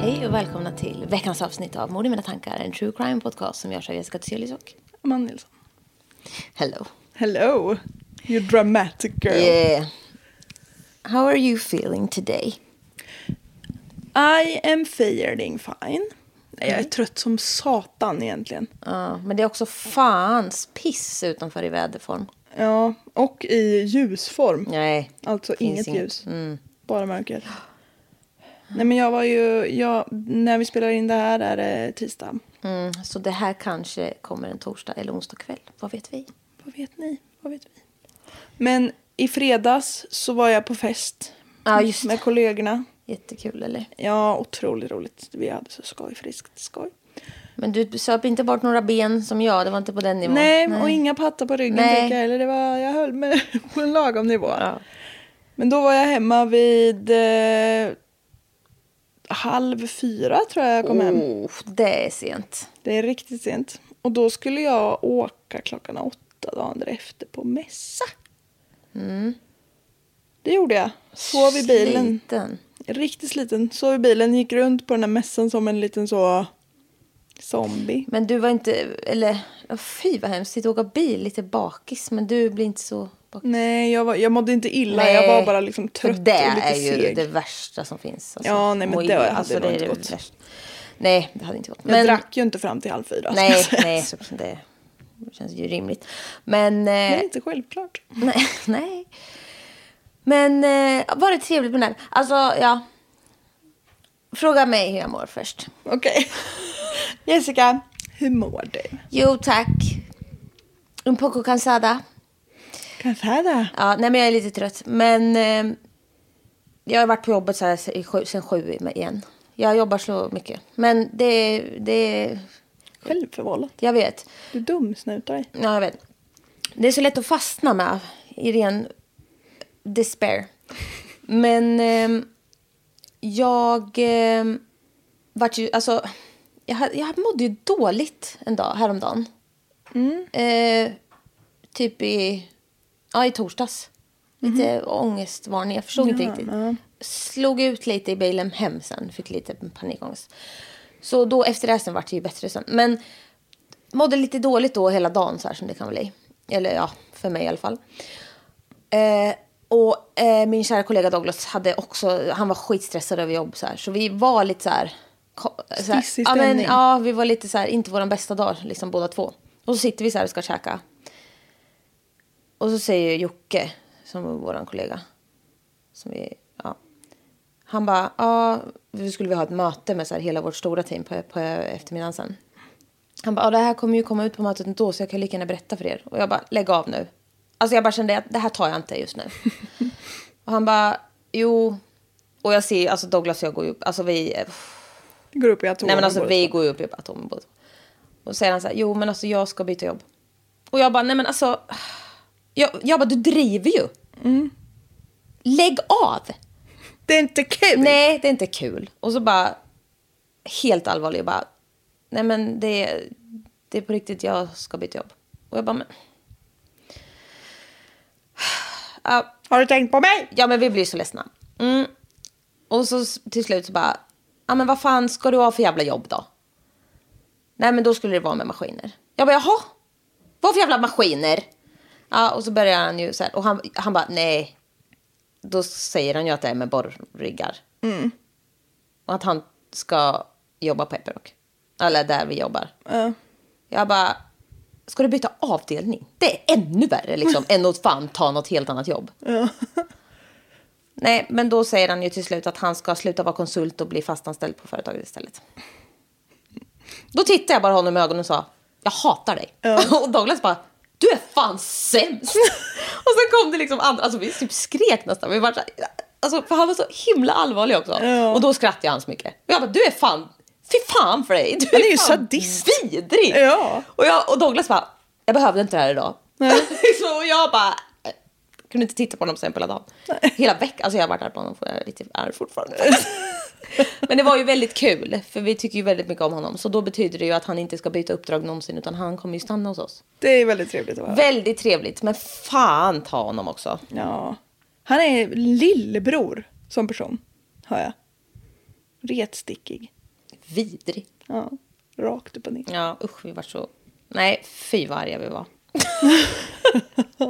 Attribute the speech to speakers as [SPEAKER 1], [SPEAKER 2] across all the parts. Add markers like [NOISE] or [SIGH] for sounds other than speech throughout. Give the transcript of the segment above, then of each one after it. [SPEAKER 1] Hej och välkomna till veckans avsnitt av Mord i mina tankar, en true crime podcast som görs av Jessica Thyselius och
[SPEAKER 2] Amanda Nilsson.
[SPEAKER 1] Hello.
[SPEAKER 2] liksom, Hello, you dramatic girl.
[SPEAKER 1] Yeah. How are you feeling today?
[SPEAKER 2] I am feeling fine. Nej,
[SPEAKER 1] Mm.
[SPEAKER 2] jag är trött som satan egentligen.
[SPEAKER 1] Ja, Ah, men det är också fans piss utanför i väderform.
[SPEAKER 2] Ja, och i ljusform.
[SPEAKER 1] Nej.
[SPEAKER 2] Alltså
[SPEAKER 1] finns
[SPEAKER 2] inget
[SPEAKER 1] inget. Mm.
[SPEAKER 2] ljus, bara mörker. Nej men jag var ju, jag, när vi spelar in det här är det tisdag.
[SPEAKER 1] Mm, så det här kanske kommer en torsdag eller onsdag kväll. Vad vet vi?
[SPEAKER 2] Vad vet ni? Vad vet vi? Men i fredags så var jag på fest
[SPEAKER 1] Ja, just det.
[SPEAKER 2] med kollegorna.
[SPEAKER 1] Jättekul, eller?
[SPEAKER 2] Ja, otroligt roligt. Vi hade så skoj, friskt skoj.
[SPEAKER 1] Men du söp inte bort några ben som jag. Det var inte på den nivån.
[SPEAKER 2] Nej, och inga pattar på ryggen
[SPEAKER 1] Nej.
[SPEAKER 2] fick jag heller. Det var, jag höll mig [LAUGHS] på en lagom nivå. Men då var jag hemma vid eh, halv fyra tror jag jag kom hem.
[SPEAKER 1] Oh, det är sent.
[SPEAKER 2] Det är riktigt sent. Och då skulle jag åka klockan åtta dagen efter på mässa.
[SPEAKER 1] Mm.
[SPEAKER 2] Det gjorde jag. Sov i bilen.
[SPEAKER 1] Sliten.
[SPEAKER 2] Riktigt sliten. Sov i bilen, gick runt på den här mässan som en liten så zombie.
[SPEAKER 1] Men du var inte... Eller, oh, fy vad hemskt. Sitta och åka bil lite bakis. Men du blir inte så bakis.
[SPEAKER 2] Nej, jag, var, jag mådde inte illa. jag var bara liksom trött
[SPEAKER 1] För
[SPEAKER 2] och
[SPEAKER 1] det
[SPEAKER 2] lite
[SPEAKER 1] är ju
[SPEAKER 2] seg.
[SPEAKER 1] det värsta som finns. alltså.
[SPEAKER 2] Ja, nej, men
[SPEAKER 1] Må
[SPEAKER 2] det
[SPEAKER 1] illa.
[SPEAKER 2] hade
[SPEAKER 1] Alltså,
[SPEAKER 2] nog
[SPEAKER 1] det är
[SPEAKER 2] inte
[SPEAKER 1] det
[SPEAKER 2] gått.
[SPEAKER 1] värsta. Nej, det hade inte gått.
[SPEAKER 2] Jag drack ju inte fram till halv fyra. ska jag [LAUGHS]
[SPEAKER 1] Nej,
[SPEAKER 2] säga.
[SPEAKER 1] nej, så det känns ju rimligt. Men...
[SPEAKER 2] Det
[SPEAKER 1] eh,
[SPEAKER 2] är inte självklart.
[SPEAKER 1] Nej. [LAUGHS] nej. Men eh, var det trevligt med den? här? Alltså, ja. Fråga mig hur jag mår först.
[SPEAKER 2] Okej. [LAUGHS] Jessica, hur mår du?
[SPEAKER 1] Jo, tack. Un poco cansada.
[SPEAKER 2] Cansada.
[SPEAKER 1] Ja, nej, men jag är lite trött. Men eh, jag har varit på jobbet så här i sju, sen sju i- igen. Jag jobbar så mycket. Men det... det
[SPEAKER 2] Självförvållat.
[SPEAKER 1] jag vet.
[SPEAKER 2] Du dumsnutar dig.
[SPEAKER 1] Ja, jag vet. Det är så lätt att fastna med i ren despair. Men ehm, jag eh, vart ju, alltså, jag, ha- jag mådde ju dåligt en dag häromdagen. Eh, typ i, ja, i torsdags. Lite ångestvarning, jag förstod inte riktigt. Slog ut lite i bilen hem sen, fick lite panikångest. Så då efter det här sen vart det ju bättre sen. Men mådde lite dåligt då hela dagen så här som det kan bli. Eller ja, för mig i alla fall. Eh, och eh, min kära kollega Douglas hade också, han var skitstressad över jobb så här. Så vi var lite så här. ko- så här-
[SPEAKER 2] Stissig
[SPEAKER 1] ja, men,
[SPEAKER 2] stämning.
[SPEAKER 1] ja, vi var lite så här, inte våran bästa dag liksom båda två. Och så sitter vi så här och ska käka. Och så säger Jocke, som är våran kollega. Som vi, ja. Han bara, ja, vi skulle vi ha ett möte med så här hela vårt stora team på, på eftermiddagen sen. Han bara, ja, det här kommer ju komma ut på mötet ändå så jag kan lika gärna berätta för er. Och jag bara, lägg av nu. Alltså jag bara kände att det här tar jag inte just nu. och han bara, jo. Och jag ser, alltså Douglas och jag går ju upp, alltså vi,
[SPEAKER 2] Går upp i atomer.
[SPEAKER 1] nej men alltså
[SPEAKER 2] båda
[SPEAKER 1] vi
[SPEAKER 2] två.
[SPEAKER 1] går ju upp i atomen båda två. Och så säger han så här, jo men alltså jag ska byta jobb. Och jag bara, nej men alltså, jag, jag bara, du driver ju. Lägg av.
[SPEAKER 2] Det är inte kul.
[SPEAKER 1] Nej, det är inte kul. Och så bara, helt allvarlig, jag bara, nej men det, det är på riktigt, jag ska byta jobb. Och jag bara, men, ja,
[SPEAKER 2] Har du tänkt på mig?
[SPEAKER 1] ja men vi blir så ledsna. Mm. Och så s- till slut så bara, ja men vad fan ska du ha för jävla jobb då? Nej men då skulle det vara med maskiner. Jag bara, jaha? Vad för jävla maskiner? Ja, och så börjar han ju så här, och han, han bara, nej. Då säger han ju att det är med borrriggar. Och att han ska jobba på Epiroc. Eller där vi jobbar.
[SPEAKER 2] Ja.
[SPEAKER 1] Jag bara, ska du byta avdelning? Det är ännu värre
[SPEAKER 2] [LAUGHS]
[SPEAKER 1] liksom, än att fan ta något helt annat jobb. Nej, men då säger han ju till slut att han ska sluta vara konsult och bli fastanställd på företaget istället. Då tittade jag bara honom i ögonen och sa, jag hatar dig. [LAUGHS] Och Douglas bara, du är fan
[SPEAKER 2] [LAUGHS]
[SPEAKER 1] sämst. och sen kom det liksom andra, alltså vi typ skrek nästan. Vi var så här, alltså, för han var så himla allvarlig också. Och då skrattade han så mycket. Och jag bara, du är fan, fy fan för dig. Du
[SPEAKER 2] Han är ju
[SPEAKER 1] fan
[SPEAKER 2] sadist.
[SPEAKER 1] Vidrig!
[SPEAKER 2] Ja.
[SPEAKER 1] Och, jag, och Douglas bara, jag behövde inte det här idag. [LAUGHS] så och jag bara, eh, kunde inte titta på honom sen på hela dagen. Hela veckan, alltså jag har varit arg på honom, för jag är lite arg fortfarande. [LAUGHS] Men det var ju väldigt kul, för vi tycker ju väldigt mycket om honom. Så då betyder det ju att han inte ska byta uppdrag någonsin, utan han kommer ju stanna hos oss.
[SPEAKER 2] Det är väldigt trevligt att höra.
[SPEAKER 1] Väldigt trevligt, men fan ta honom också.
[SPEAKER 2] Ja. Han är lillebror som person, hör jag. Retstickig.
[SPEAKER 1] Vidrig.
[SPEAKER 2] Ja. Rakt upp och ner.
[SPEAKER 1] Ja, usch, vi var så... Nej, fy vad arga vi var.
[SPEAKER 2] Det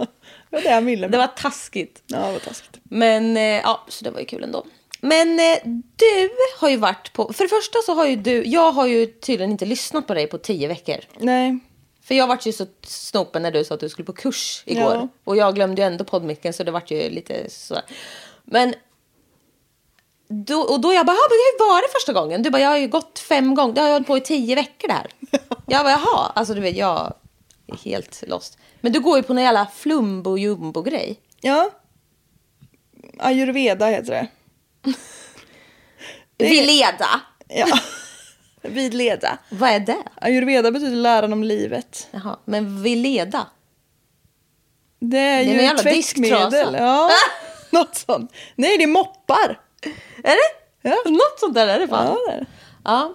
[SPEAKER 2] var det han ville.
[SPEAKER 1] Det var taskigt.
[SPEAKER 2] Ja, vad taskigt.
[SPEAKER 1] Men eh, ja, så det var ju kul ändå. Men eh, du har ju varit på... För det första så har ju du... Jag har ju tydligen inte lyssnat på dig på tio veckor.
[SPEAKER 2] Nej.
[SPEAKER 1] För jag vart ju så snopen när du sa att du skulle på kurs igår.
[SPEAKER 2] Ja.
[SPEAKER 1] Och jag glömde ju ändå poddmicken så det vart ju lite sådär. Men... Då, och då jag bara, "Ja, men hur var det första gången? Du bara, jag har ju gått fem gånger. Det har jag hållit på i tio veckor
[SPEAKER 2] [LAUGHS]
[SPEAKER 1] där. jag bara, jaha. Alltså du vet, jag är helt lost. Men du går ju på någon jävla flumbo-jumbo-grej.
[SPEAKER 2] Ja. Ayurveda heter det. Det är-
[SPEAKER 1] Vi leda. [LAUGHS]
[SPEAKER 2] Ja. Vidleda.
[SPEAKER 1] Vad är det?
[SPEAKER 2] Ayurveda betyder läran om livet.
[SPEAKER 1] Jaha, men vi leda.
[SPEAKER 2] Det är
[SPEAKER 1] Det är
[SPEAKER 2] ju
[SPEAKER 1] någon jävla
[SPEAKER 2] tvättmedel.
[SPEAKER 1] disktrasa. [LAUGHS]
[SPEAKER 2] Ja. Något sånt. Nej, det är moppar.
[SPEAKER 1] Är det? [LAUGHS]
[SPEAKER 2] Ja.
[SPEAKER 1] Något sånt där är det fan.
[SPEAKER 2] Ja, det är det.
[SPEAKER 1] Ja.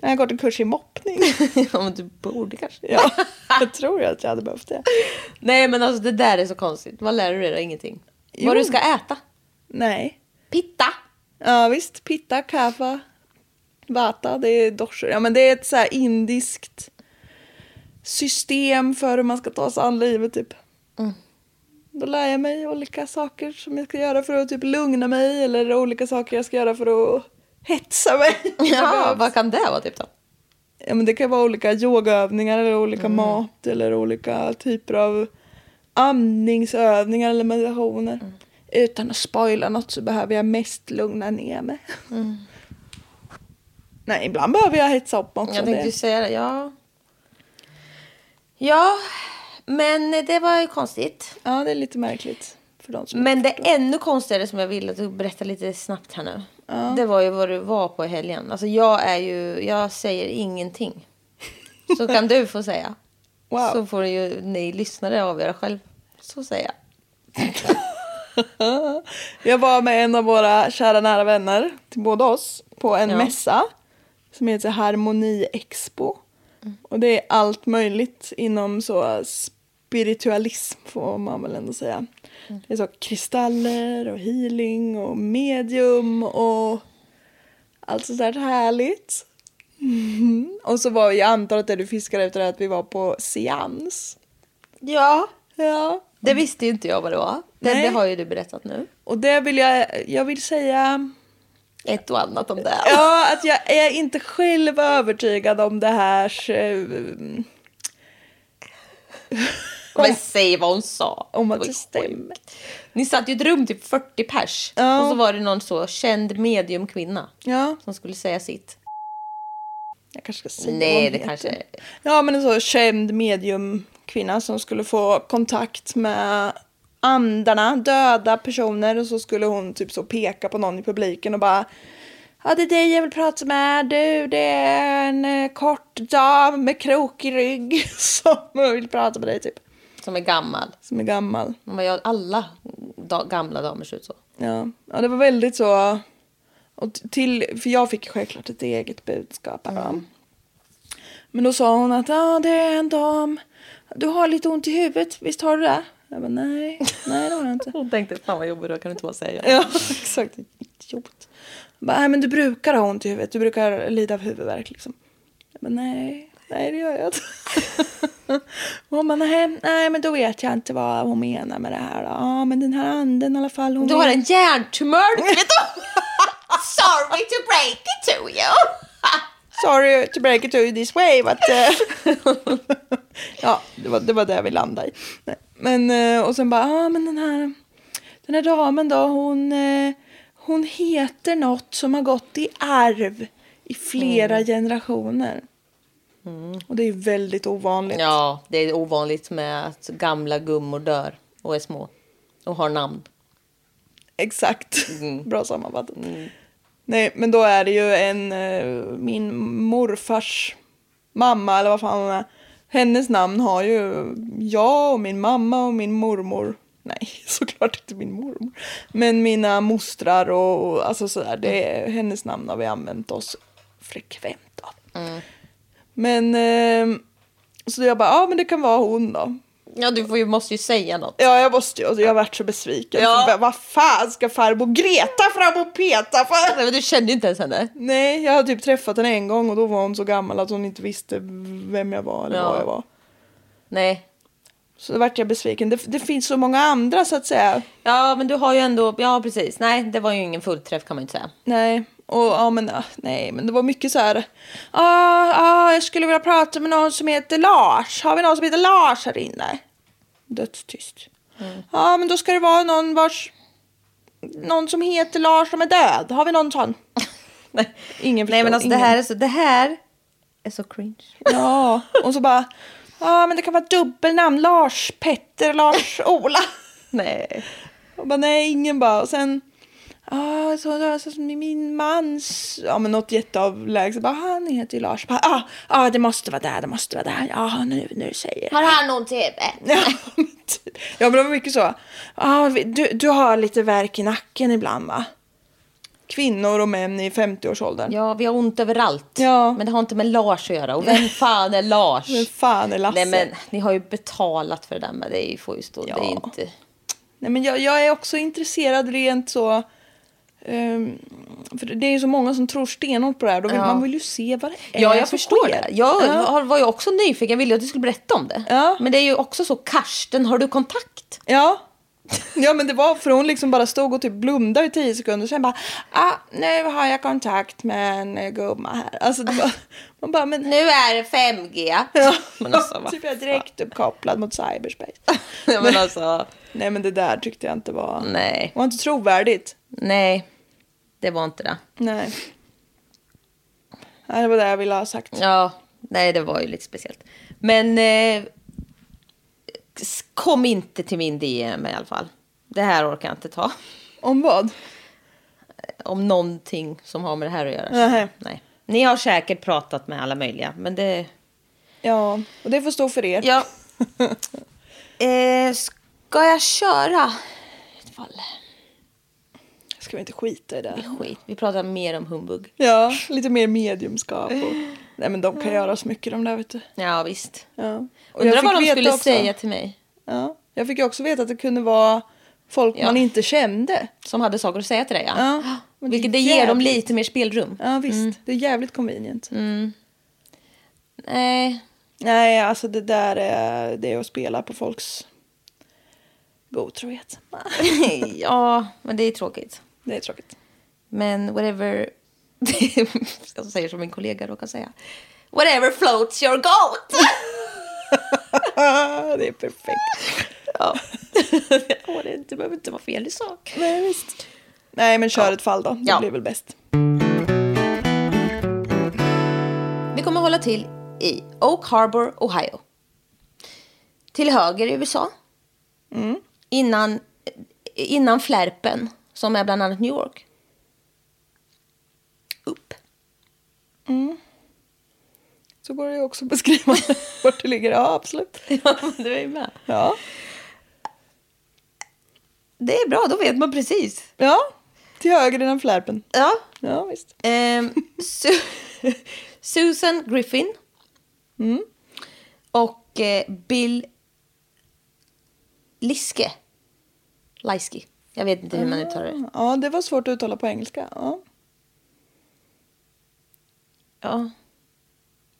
[SPEAKER 2] Jag har gått en kurs i moppning.
[SPEAKER 1] [LAUGHS] ja, men du borde kanske. [LAUGHS]
[SPEAKER 2] Ja, jag tror att jag hade behövt det.
[SPEAKER 1] Nej, men alltså det där är så konstigt. Vad lär du dig då? Ingenting.
[SPEAKER 2] Jo.
[SPEAKER 1] Vad du ska äta?
[SPEAKER 2] Nej.
[SPEAKER 1] Pitta!
[SPEAKER 2] Ja, visst. Pitta, kava, vata, det är dorsor. Ja, men det är ett så här indiskt system för hur man ska ta sig an livet, typ. Då lär jag mig olika saker som jag ska göra för att typ lugna mig eller olika saker jag ska göra för att hetsa mig. [LAUGHS]
[SPEAKER 1] Ja, vad kan det vara typ då?
[SPEAKER 2] Ja, men det kan vara olika yogaövningar eller olika
[SPEAKER 1] Mm.
[SPEAKER 2] mat eller olika typer av andningsövningar eller meditationer.
[SPEAKER 1] Mm.
[SPEAKER 2] Utan att spoila något så behöver jag mest lugna ner mig.
[SPEAKER 1] Mm.
[SPEAKER 2] Nej, ibland behöver jag hetsa upp mig också.
[SPEAKER 1] Jag tänkte ju
[SPEAKER 2] Det-
[SPEAKER 1] säga det, ja. Ja, men det var ju konstigt.
[SPEAKER 2] Ja, det är lite märkligt för de som...
[SPEAKER 1] Men det ännu konstigare som jag vill att du berättar lite snabbt här nu. Det var ju vad du var på i helgen. Alltså jag är ju, jag säger ingenting. Så kan du få säga.
[SPEAKER 2] [LAUGHS] Wow.
[SPEAKER 1] Så får ju ni lyssnare avgöra själv. Så säger jag.
[SPEAKER 2] [LAUGHS] Jag var med en av våra kära nära vänner till båda oss på en
[SPEAKER 1] Ja.
[SPEAKER 2] mässa som heter Harmoni Expo. Och det är allt möjligt inom så spiritualism får man väl ändå säga. Det är så kristaller och healing och medium och allt sånt där härligt. Mhm. Och så var jag antar att det du fiskar efter är att vi var på seans.
[SPEAKER 1] Ja.
[SPEAKER 2] Ja.
[SPEAKER 1] Det visste ju inte jag vad det var. Det,
[SPEAKER 2] Nej.
[SPEAKER 1] det har ju du berättat nu.
[SPEAKER 2] Och det vill jag, jag vill säga
[SPEAKER 1] Ett och annat om det.
[SPEAKER 2] Ja, att jag är inte själv övertygad om det här. eh,
[SPEAKER 1] Men säg vad hon sa.
[SPEAKER 2] Om att
[SPEAKER 1] var
[SPEAKER 2] det
[SPEAKER 1] ju
[SPEAKER 2] stämmer.
[SPEAKER 1] sjukt. Ni satt i ett rum typ 40 pers.
[SPEAKER 2] Ja.
[SPEAKER 1] Och så var det någon så känd mediumkvinna
[SPEAKER 2] Ja,
[SPEAKER 1] som skulle säga sitt.
[SPEAKER 2] jag kanske ska säga vad
[SPEAKER 1] Nej,
[SPEAKER 2] hon
[SPEAKER 1] det
[SPEAKER 2] heter.
[SPEAKER 1] kanske...
[SPEAKER 2] Ja, men en så känd mediumkvinna som skulle få kontakt med andarna, döda personer och så skulle hon typ så peka på någon i publiken och bara Ja, det är dig jag vill prata med. Du, det är en eh, kort dam med krokig rygg [LAUGHS] som vill prata med dig, typ.
[SPEAKER 1] Som är gammal.
[SPEAKER 2] Som är gammal.
[SPEAKER 1] Man bara, ja, alla da gamla damer ser ut så.
[SPEAKER 2] Ja, ja det var väldigt så. Och t- till, för jag fick ju självklart ett eget budskap. här, va?
[SPEAKER 1] Mm.
[SPEAKER 2] Men då sa hon att ah, det är en dam. Du har lite ont i huvudet, visst har du det? Jag bara, nej, nej det har
[SPEAKER 1] [LAUGHS]
[SPEAKER 2] jag inte.
[SPEAKER 1] Hon tänkte fan vad jobbigt, då kan du inte bara säga.
[SPEAKER 2] Ja, [LAUGHS] exakt. Idiot. Hon Bara, nej, men du brukar ha ont i huvudet. Du brukar lida av huvudvärk liksom. Jag bara, nej, nej det gör jag inte. [LAUGHS] Och hon bara, nej, nej, men då vet jag inte vad hon menar med det här. då. Ja, men den här anden i alla fall. Hon
[SPEAKER 1] Du har
[SPEAKER 2] vet-
[SPEAKER 1] en hjärntumör, vet du? Sorry to break it to you.
[SPEAKER 2] Sorry to break it to you this way, but... eh, ja, det var, det var där vi landade i. Nej, Men, eh, och sen bara, ja ah, men den här, den här damen då, hon, eh, hon heter något som har gått i arv i flera generationer. Och det är väldigt
[SPEAKER 1] [LAUGHS]
[SPEAKER 2] ovanligt.
[SPEAKER 1] Ja, det är ovanligt med att gamla gummor dör och är små och har namn.
[SPEAKER 2] Exakt. Bra sammanfattat. Nej, men då är det ju en, eh, min morfars mamma, eller vad fan hon är. Hennes namn har ju jag och min mamma och min mormor. Nej, [LAUGHS] såklart inte min mormor. Men mina mostrar och, och alltså sådär. Det, är- Hennes namn har vi använt oss frekvent av. Men, eh, så jag bara, ja men det kan vara hon då.
[SPEAKER 1] Ja, du får ju, måste ju säga något.
[SPEAKER 2] Ja, jag måste ju. Alltså, jag varit så besviken.
[SPEAKER 1] Ja.
[SPEAKER 2] För, vad fan ska farbror Greta fram och peta för?
[SPEAKER 1] Nej, men du kände ju inte ens henne.
[SPEAKER 2] Nej, jag har typ träffat henne en gång och då var hon så gammal att hon inte visste vem jag var eller
[SPEAKER 1] Ja.
[SPEAKER 2] vad jag var.
[SPEAKER 1] Nej.
[SPEAKER 2] Så då vart jag besviken. Det, det finns så många andra så att säga.
[SPEAKER 1] Ja, men du har ju ändå... Ja, precis. Nej, det var ju ingen fullträff kan man ju inte säga.
[SPEAKER 2] Nej, och ja men ah, nej, men det var mycket så här. Ah, ah, jag skulle vilja prata med någon som heter Lars. Har vi någon som heter Lars här inne? Dödstyst. Ja,
[SPEAKER 1] Mm.
[SPEAKER 2] ah, men då ska det vara någon vars någon som heter Lars som är död. Har vi någon sån?
[SPEAKER 1] Nej,
[SPEAKER 2] Ingen
[SPEAKER 1] Nej men
[SPEAKER 2] förstår,
[SPEAKER 1] alltså
[SPEAKER 2] ingen.
[SPEAKER 1] det här är så... Det här är så cringe.
[SPEAKER 2] Ja, och så bara. Ja, ah, men det kan vara dubbelnamn. Lars Petter, Lars Ola.
[SPEAKER 1] Nej.
[SPEAKER 2] Och bara nej, ingen bara. Och sen, ah, så, så, så, så, min mans, ja men något jätteavlägset, bara "Ah, han heter ju Lars. Bara, ah, ah, det måste vara där, det måste vara där. Ja, nu, nu säger jag.
[SPEAKER 1] Har han någon TV?
[SPEAKER 2] [LAUGHS] Ja, men typ. Ja, men det var mycket så. Ah, vi- du, du har lite värk i nacken ibland va? Kvinnor och män i 50-årsåldern.
[SPEAKER 1] Ja, vi har ont överallt.
[SPEAKER 2] Ja.
[SPEAKER 1] Men det har inte med Lars att göra. Och vem fan är Lars?
[SPEAKER 2] Vem fan är Lasse?
[SPEAKER 1] Nej, men ni har ju betalat för det där med. Det är ju- får ju stå. Det är
[SPEAKER 2] Ja.
[SPEAKER 1] inte...
[SPEAKER 2] Nej, men jag, jag är också intresserad rent så... ehm, för det är ju så många som tror stenhårt på det här. Då vill,
[SPEAKER 1] Ja.
[SPEAKER 2] Man vill ju se vad det är
[SPEAKER 1] Ja, jag
[SPEAKER 2] som
[SPEAKER 1] förstår
[SPEAKER 2] sker.
[SPEAKER 1] det. Jag
[SPEAKER 2] Ja.
[SPEAKER 1] har- var ju också nyfiken. Jag ville ju att du skulle berätta om det.
[SPEAKER 2] Ja.
[SPEAKER 1] Men det är ju också så, Karsten, har du kontakt?
[SPEAKER 2] Ja. Ja men det var för hon liksom bara stod och typ blundade i tio sekunder och sen bara ah, nu har jag kontakt med en eh, gumma här. Alltså det var, man bara men
[SPEAKER 1] Nu är det 5G. [LAUGHS]
[SPEAKER 2] ja.
[SPEAKER 1] Men alltså, vad
[SPEAKER 2] typ jag är direkt uppkopplad mot cyberspace.
[SPEAKER 1] Nej, men alltså,
[SPEAKER 2] Nej men det där tyckte jag inte var,
[SPEAKER 1] nej.
[SPEAKER 2] var inte trovärdigt.
[SPEAKER 1] Nej, det var inte det.
[SPEAKER 2] Nej. Nej det var det jag ville ha sagt.
[SPEAKER 1] Ja, nej, det var ju lite speciellt. Men eh, s- kom inte till min DM i alla fall. Det här orkar jag inte ta.
[SPEAKER 2] Om vad?
[SPEAKER 1] Om någonting som har med det här att göra.
[SPEAKER 2] Nej.
[SPEAKER 1] Nej. Ni har säkert pratat med alla möjliga, men det...
[SPEAKER 2] Ja och det får stå för er. [LAUGHS]
[SPEAKER 1] Ja. eh, ska jag köra? I ett fall.
[SPEAKER 2] Ska vi inte skita i det?
[SPEAKER 1] Skit, vi pratar mer om humbug.
[SPEAKER 2] Ja lite mer mediumskap och nej men de kan göra så mycket de där vet du.
[SPEAKER 1] Ja, visst.
[SPEAKER 2] Ja. Och
[SPEAKER 1] Undrar vad de
[SPEAKER 2] veta
[SPEAKER 1] skulle
[SPEAKER 2] också-
[SPEAKER 1] säga till mig.
[SPEAKER 2] Ja. Jag fick ju också veta att det kunde vara folk
[SPEAKER 1] Ja.
[SPEAKER 2] man inte kände.
[SPEAKER 1] Som hade saker att säga till dig, ja.
[SPEAKER 2] Ja, men det är
[SPEAKER 1] Vilket det ger dem
[SPEAKER 2] jävligt.
[SPEAKER 1] lite Mm. mer spelrum.
[SPEAKER 2] Ja visst, det är jävligt convenient. [LAUGHS]
[SPEAKER 1] Nej, [LAUGHS]
[SPEAKER 2] Nej, alltså det där är, det är att spela på folks godtrohet.
[SPEAKER 1] ja, men det är tråkigt.
[SPEAKER 2] Det är tråkigt.
[SPEAKER 1] Men whatever... [LAUGHS] jag säger som min kollega råkar säga. Whatever floats your [LAUGHS] goat!
[SPEAKER 2] Ah, det är perfekt.
[SPEAKER 1] ja. [LAUGHS] Åh, det, det behöver inte vara fel i sak.
[SPEAKER 2] Nej, visst. Nej, men kör ett fall då. Det
[SPEAKER 1] Ja.
[SPEAKER 2] blir väl bäst.
[SPEAKER 1] Vi kommer hålla till i Oak Harbor, Ohio. Till höger i USA. Mm. Innan, innan flärpen, som är bland annat New York. Upp. [LAUGHS]
[SPEAKER 2] Så går det ju också [LAUGHS] att beskriva vart det ligger. Ja, absolut.
[SPEAKER 1] Ja, men du är med.
[SPEAKER 2] Ja,
[SPEAKER 1] Det är bra, då vet man precis.
[SPEAKER 2] ja. till höger innan flärpen.
[SPEAKER 1] Ja.
[SPEAKER 2] Ja, visst.
[SPEAKER 1] Ehm, Su- Susan Griffin. Mm. Och eh, Bill Liske. Laiski. Jag vet inte hur man uttalar det.
[SPEAKER 2] Ja, det var svårt att uttala på engelska. Ja.
[SPEAKER 1] Ah. Ja,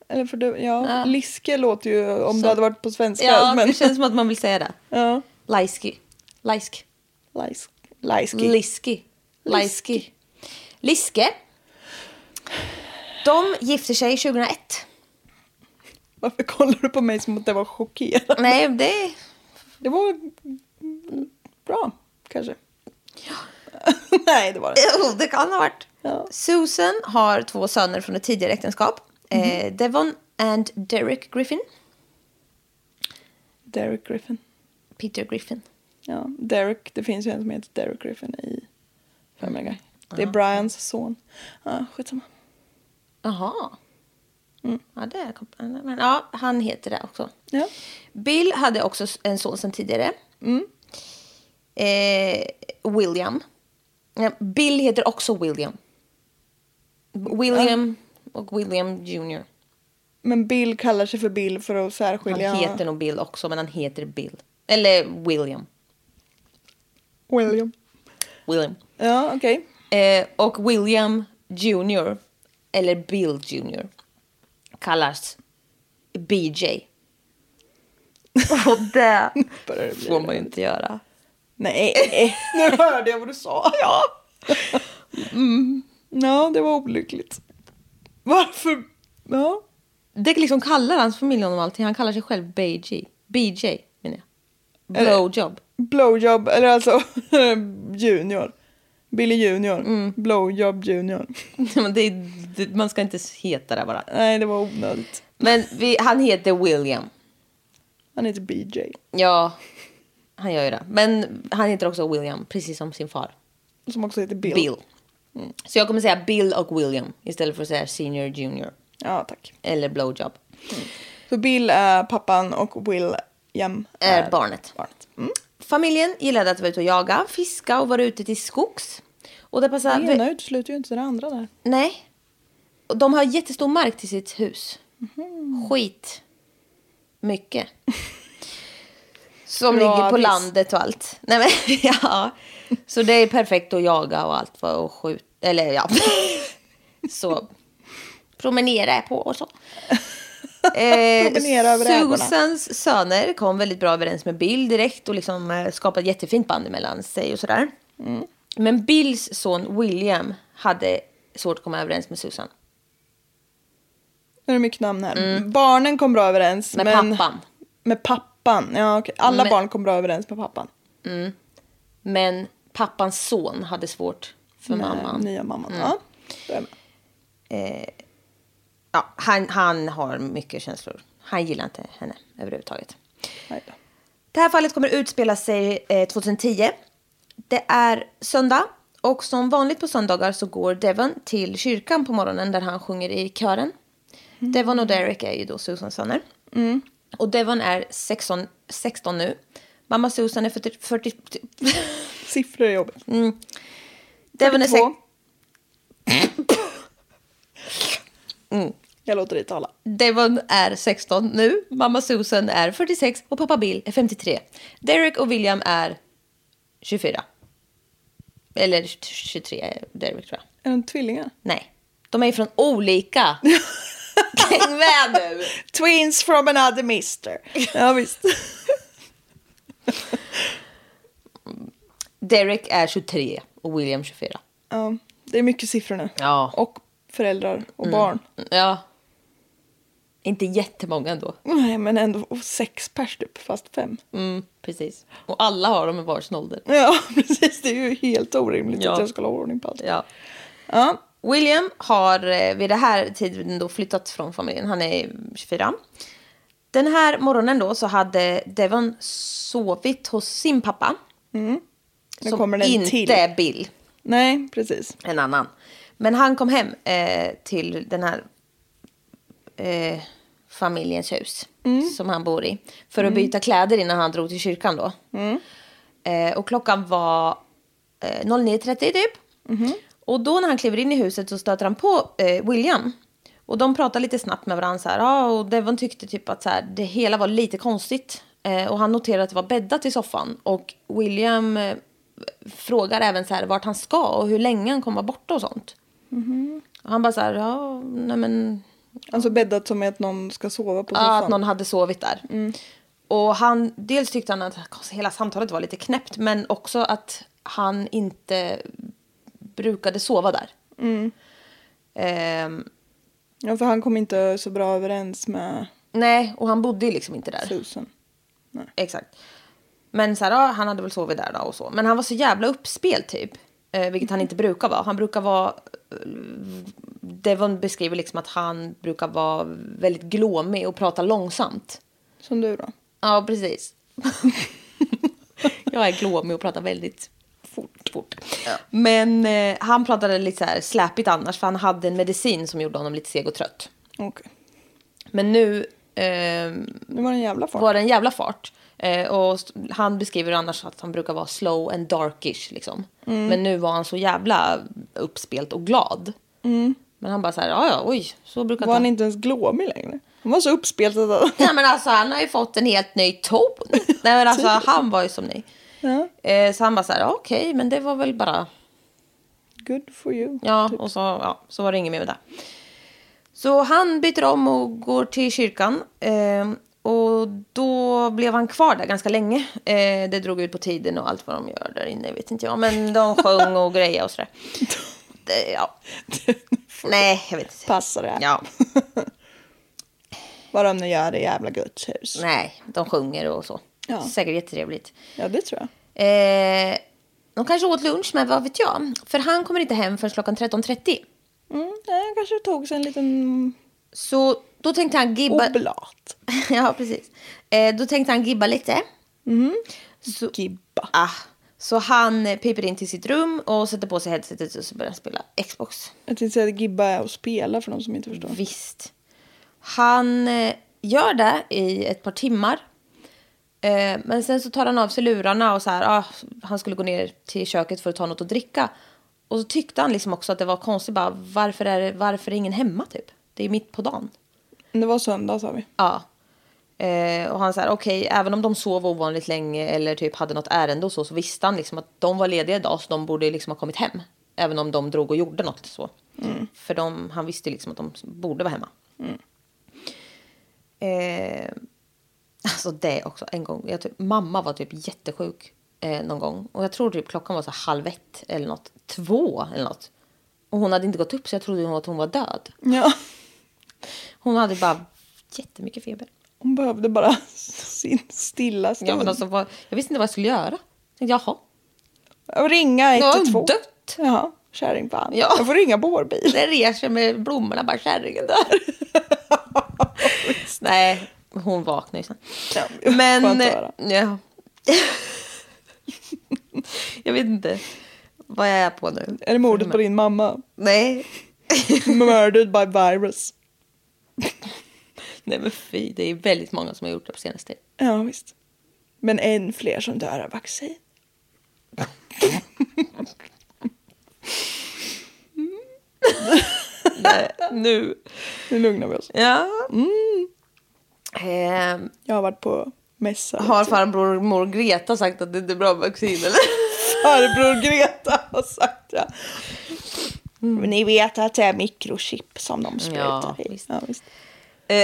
[SPEAKER 2] Eller för det, ja. Liske låter ju om det hade varit på svenska.
[SPEAKER 1] ja [LAUGHS]
[SPEAKER 2] men,
[SPEAKER 1] det känns som att man vill säga det.
[SPEAKER 2] ja.
[SPEAKER 1] Laiski. Laisk.
[SPEAKER 2] Lajs, lajski.
[SPEAKER 1] Liski. Laiski. Liske. De gifter sig 2001.
[SPEAKER 2] Varför kollar du på mig som att jag var chockerad?
[SPEAKER 1] Nej, det...
[SPEAKER 2] Det var mm, bra, kanske. [LAUGHS] Nej, det var det inte.
[SPEAKER 1] [LAUGHS] Jo, det kan ha varit.
[SPEAKER 2] Ja.
[SPEAKER 1] Susan har två söner från ett tidigare äktenskap. Eh, Devon and Derek Griffin.
[SPEAKER 2] Derek Griffin.
[SPEAKER 1] Peter Griffin.
[SPEAKER 2] Ja, Derek. Det finns ju en som heter Derek Griffin i Family Guy. Det är Brians son. Ja, skitsamma.
[SPEAKER 1] Jaha. Mm. Ja, det är komp- men, ja, han heter det också.
[SPEAKER 2] Ja.
[SPEAKER 1] Bill hade också en son sedan tidigare. Mm. Eh, William. Ja, Bill heter också William. William och William Jr.
[SPEAKER 2] Men Bill kallar sig för Bill för att
[SPEAKER 1] Han
[SPEAKER 2] särskilja
[SPEAKER 1] heter nog Bill också, men han heter Bill. Eller William.
[SPEAKER 2] William.
[SPEAKER 1] William.
[SPEAKER 2] Ja, okej.
[SPEAKER 1] Eh, och William Jr. eller Bill Jr. kallas BJ. Och
[SPEAKER 2] [LAUGHS]
[SPEAKER 1] det
[SPEAKER 2] Börjar det bli
[SPEAKER 1] får man ju inte göra.
[SPEAKER 2] Nej, [LAUGHS] nu hörde jag vad du sa. [LAUGHS] Ja. Mm. ja, det var olyckligt. Varför? Ja.
[SPEAKER 1] Det liksom kallar hans familj honom allting. Han kallar sig själv BJ. BJ menar jag.
[SPEAKER 2] Eller-
[SPEAKER 1] Blowjob. [LAUGHS]
[SPEAKER 2] Blowjob, eller alltså [LAUGHS] junior. Billy junior. Blowjob junior.
[SPEAKER 1] Men det, är- det, man ska inte heta det bara.
[SPEAKER 2] Nej, det var onödigt.
[SPEAKER 1] Men vi, han heter William.
[SPEAKER 2] Han heter BJ.
[SPEAKER 1] Ja, han gör ju det. Men han heter också William, precis som sin far.
[SPEAKER 2] Som också heter Bill.
[SPEAKER 1] Bill. Mm. Så jag kommer säga Bill och William istället för att säga senior junior.
[SPEAKER 2] Ja, tack.
[SPEAKER 1] Eller blowjob.
[SPEAKER 2] Så Bill är pappan och William
[SPEAKER 1] Är Eh, barnet. Mm.
[SPEAKER 2] barnet.
[SPEAKER 1] Familjen gillade att vara ute och jaga, fiska och vara ute till skogs. Och det passar...
[SPEAKER 2] Det ena utesluter ju inte det andra där.
[SPEAKER 1] Nej. Och De har jättestor mark till sitt hus.
[SPEAKER 2] Mhm.
[SPEAKER 1] Skit.
[SPEAKER 2] [LAUGHS]
[SPEAKER 1] Mycket. Som
[SPEAKER 2] Bra
[SPEAKER 1] ligger på
[SPEAKER 2] diss.
[SPEAKER 1] landet och allt. Nej, men, [LAUGHS] ja. Så det är perfekt att jaga och allt vad- och skjuta. Eller ja. [LAUGHS] Så promenera på
[SPEAKER 2] [LAUGHS]
[SPEAKER 1] och så. Eh,
[SPEAKER 2] Promenera över ägorna.
[SPEAKER 1] Susans söner kom väldigt bra överens med Bill direkt och liksom eh, skapade jättefint band mellan sig och sådär.
[SPEAKER 2] Mm.
[SPEAKER 1] Men Bills son William hade svårt att komma överens med Susan.
[SPEAKER 2] Nu är det mycket namn här. Barnen kom bra överens.
[SPEAKER 1] Mm. Med
[SPEAKER 2] men...
[SPEAKER 1] pappan.
[SPEAKER 2] Med pappan, ja okej. Alla
[SPEAKER 1] Men-
[SPEAKER 2] barn kom bra överens med pappan.
[SPEAKER 1] Men pappans son hade svårt för
[SPEAKER 2] med
[SPEAKER 1] mamman. Mm. Eh,
[SPEAKER 2] Nya mamman, ja. Då är jag med.
[SPEAKER 1] Ja, han, han har mycket känslor. Han gillar inte henne överhuvudtaget.
[SPEAKER 2] Nej då.
[SPEAKER 1] Det här fallet kommer utspela sig eh, 2010. Det är söndag och som vanligt på söndagar så går Devon till kyrkan på morgonen där han sjunger i kören. Devon och Derek är ju då Susans söner. Och Devon är 16, 16 nu. Mamma Susan är 40... 40
[SPEAKER 2] Siffror är jobbigt.
[SPEAKER 1] Devon är sex-
[SPEAKER 2] 42. Mm. Jag låter dig tala.
[SPEAKER 1] Devon är 16 nu, mamma Susan är 46 och pappa Bill är 53. Derek och William är 24. Eller 23 är Derek tror jag.
[SPEAKER 2] Är de tvillingar?
[SPEAKER 1] Nej, de är från olika. Häng med nu!
[SPEAKER 2] Twins from
[SPEAKER 1] [LAUGHS]
[SPEAKER 2] another mister. Ja visst.
[SPEAKER 1] Derek är 23 och William 24.
[SPEAKER 2] Ja, det är mycket siffror nu.
[SPEAKER 1] Ja. Mm.
[SPEAKER 2] Och föräldrar och barn.
[SPEAKER 1] Ja. Inte jättemånga ändå.
[SPEAKER 2] Nej men ändå och sex pers typ, fast fem.
[SPEAKER 1] Mm, precis. Och alla har dem i varsin ålder.
[SPEAKER 2] Ja [LAUGHS] precis, det är ju helt orimligt
[SPEAKER 1] Ja.
[SPEAKER 2] att jag ska ha ordning på allt.
[SPEAKER 1] Ja. William har eh, vid det här tiden då flyttat från familjen. Han är 24. Den här morgonen då så hade Devon sovit hos sin pappa.
[SPEAKER 2] Mm. Nu
[SPEAKER 1] som
[SPEAKER 2] kommer den
[SPEAKER 1] inte
[SPEAKER 2] till.
[SPEAKER 1] är Bill,
[SPEAKER 2] Nej precis.
[SPEAKER 1] en annan. Men han kom hem eh, till den här eh, familjens hus som han bor i. För att byta kläder innan han drog till kyrkan då. Eh, och klockan var eh, 09.30 typ. Och då när han kliver in i huset så stöter han på eh, William. Och de pratar lite snabbt med varandra så här. Ja, och Devon tyckte typ att så här, det hela var lite konstigt. Eh, och han noterade att det var bäddat i soffan. Och William eh, frågar även så här vart han ska och hur länge han kommer vara borta och sånt. Och han bara så här, ja, nej men
[SPEAKER 2] Alltså bäddat som är att någon ska sova på
[SPEAKER 1] Ja,
[SPEAKER 2] soffan.
[SPEAKER 1] Ah,
[SPEAKER 2] Mm.
[SPEAKER 1] att någon hade sovit där. Och han, dels tyckte han att hela samtalet var lite knäppt, men också att han inte brukade sova där.
[SPEAKER 2] Mm.
[SPEAKER 1] Ehm,
[SPEAKER 2] Ja, för han kom inte så bra överens med
[SPEAKER 1] nej, och han bodde ju liksom inte där.
[SPEAKER 2] Susan.
[SPEAKER 1] Exakt. Men så här, ja, han hade väl sovit där då och så. Men han var så jävla uppspel typ. Eh, vilket han inte brukar vara. Han brukar vara... eh, Devon beskriver liksom att han brukar vara väldigt glåmig och prata långsamt.
[SPEAKER 2] Som du då.
[SPEAKER 1] Ja, precis. jag är glåmig och pratar väldigt fort. fort. Men eh, han pratade lite så här släpigt annars för han hade en medicin som gjorde honom lite seg och trött.
[SPEAKER 2] Okej.
[SPEAKER 1] Men nu ehm,
[SPEAKER 2] Nu var det en jävla fart.
[SPEAKER 1] var det en jävla fart. Eh, och st- han beskriver annars att han brukar vara slow and darkish liksom. Men nu var han så jävla uppspelt och glad. Men han bara så här, ja ja, oj, så brukar
[SPEAKER 2] Var
[SPEAKER 1] inte
[SPEAKER 2] han inte ens glåmig längre? Han var så uppspeltad. att-
[SPEAKER 1] Nej men alltså han har ju fått en helt ny ton. Nej men alltså han var ju som ni. Eh, så han bara så här, "Ja, okej men det var väl bara,
[SPEAKER 2] [LAUGHS] Good for [LAUGHS] you.
[SPEAKER 1] ja och så, ja, så var det inget mer med det. Så han byter om och går till kyrkan. Eh, och då blev han kvar där ganska länge. Eh, det drog ut på tiden och allt vad de gör där inne vet inte jag. Men de sjöng och grejade och sådär. Det, ja. Nej, jag vet inte.
[SPEAKER 2] Passar det?
[SPEAKER 1] Ja,
[SPEAKER 2] Vad de nu gör i jävla Guds hus.
[SPEAKER 1] nej, de sjunger och så.
[SPEAKER 2] Ja.
[SPEAKER 1] Säkert jättetrevligt.
[SPEAKER 2] Ja, det tror jag.
[SPEAKER 1] Eh, de kanske åt lunch, men vad vet jag? För han kommer inte hem förrän klockan 13.30.
[SPEAKER 2] Mm, nej, han kanske tog sig en liten
[SPEAKER 1] Så då tänkte han gibba...
[SPEAKER 2] oblat.
[SPEAKER 1] [LAUGHS] ja, precis. Eh, då tänkte han gibba lite. Så,
[SPEAKER 2] Gibba.
[SPEAKER 1] ah, så han eh, piper in till sitt rum och sätter på sig headsetet och så börjar han spela Xbox.
[SPEAKER 2] Jag tänkte säga att gibba är att spela för de som inte förstår.
[SPEAKER 1] Visst. Han eh, gör det i ett par timmar. Eh, men sen så tar han av sig lurarna och så här, ah, han skulle gå ner till köket för att ta något att dricka. Och så tyckte han liksom också att det var konstigt, bara, varför, är det, varför är ingen hemma typ? Det är mitt på dagen.
[SPEAKER 2] Det var söndag sa vi.
[SPEAKER 1] Ja. Eh, och han så här, okej, även om de sov ovanligt länge eller typ hade något ärende och så, så visste han liksom att de var lediga idag så de borde liksom ha kommit hem. Även om de drog och gjorde något så. För de, han visste liksom att de borde vara hemma. Eh, alltså det också, en gång. Jag typ, mamma var typ jättesjuk eh, någon gång. Och jag tror typ klockan var så här halv ett eller något. Två eller något. Och hon hade inte gått upp så jag trodde hon- att hon var död.
[SPEAKER 2] Ja.
[SPEAKER 1] Hon hade bara jättemycket feber.
[SPEAKER 2] Hon behövde bara [LAUGHS] sin stilla stund.
[SPEAKER 1] Ja, men alltså, vad, jag visste inte vad jag skulle göra. Jag tänkte, [LAUGHS] Jaha,
[SPEAKER 2] Och ringa
[SPEAKER 1] nu har
[SPEAKER 2] 112.
[SPEAKER 1] hon dött.
[SPEAKER 2] Ja, kärring fan.
[SPEAKER 1] Ja.
[SPEAKER 2] Jag får ringa på vår bil.
[SPEAKER 1] Den reser med blommorna, bara kärringen där. [LAUGHS] Nej, hon vaknade ju sen.
[SPEAKER 2] [LAUGHS] Ja,
[SPEAKER 1] Men, eh,
[SPEAKER 2] skönt att höra.
[SPEAKER 1] ja. [LAUGHS] jag vet inte vad jag är på nu.
[SPEAKER 2] Är det mordet på
[SPEAKER 1] [LAUGHS]
[SPEAKER 2] din mamma?
[SPEAKER 1] Nej,
[SPEAKER 2] Murdered by virus.
[SPEAKER 1] nej men fy, det är väldigt många som har gjort det på senaste tiden.
[SPEAKER 2] Ja, visst. Men än fler som dör av vaccin.
[SPEAKER 1] Nej, nu. Mm.
[SPEAKER 2] Nu lugnar vi oss.
[SPEAKER 1] Ja. Ehm,
[SPEAKER 2] Jag har varit på mässa.
[SPEAKER 1] har farbror mor Greta sagt att det inte är bra vaccin [LAUGHS] eller?
[SPEAKER 2] farbror Greta har sagt det. Men Ni vet att det är mikrochip som de sprutar
[SPEAKER 1] Mm. Ja,
[SPEAKER 2] i.
[SPEAKER 1] visst.
[SPEAKER 2] Ja, visst.
[SPEAKER 1] Eh,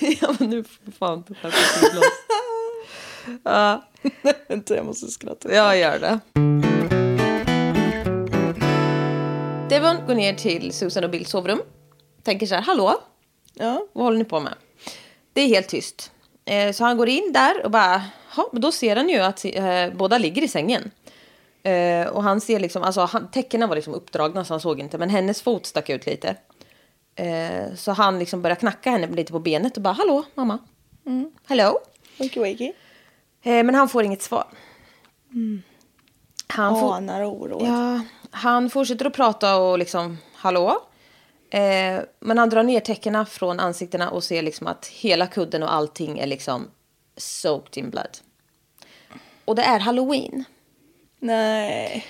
[SPEAKER 1] [LAUGHS] ja men nu får fan ta fram ett glas. Ja,
[SPEAKER 2] Vänta, jag måste skratta.
[SPEAKER 1] jag gör det. Devon går ner till Susan och Bills sovrum. Tänker så här, hallå,
[SPEAKER 2] Ja.
[SPEAKER 1] vad håller ni på med? Det är helt tyst. Eh, så han går in där och bara, "Ja, men då ser han ju att eh, båda ligger i sängen. Eh, och han ser liksom, alltså han, täckena var liksom uppdragna så han såg inte, men hennes fot stack ut lite. Eh, så han liksom börjar knacka henne lite på benet och bara, hallå mamma. Hello.
[SPEAKER 2] Wakey wakey.
[SPEAKER 1] Eh, men han får inget svar. Han, får,
[SPEAKER 2] Anar oro.
[SPEAKER 1] ja, han fortsätter att prata och liksom, hallå? Eh, men han drar ner täckena från ansiktena och ser liksom att hela kudden och allting är liksom soaked in blood. Och det är halloween.
[SPEAKER 2] Nej.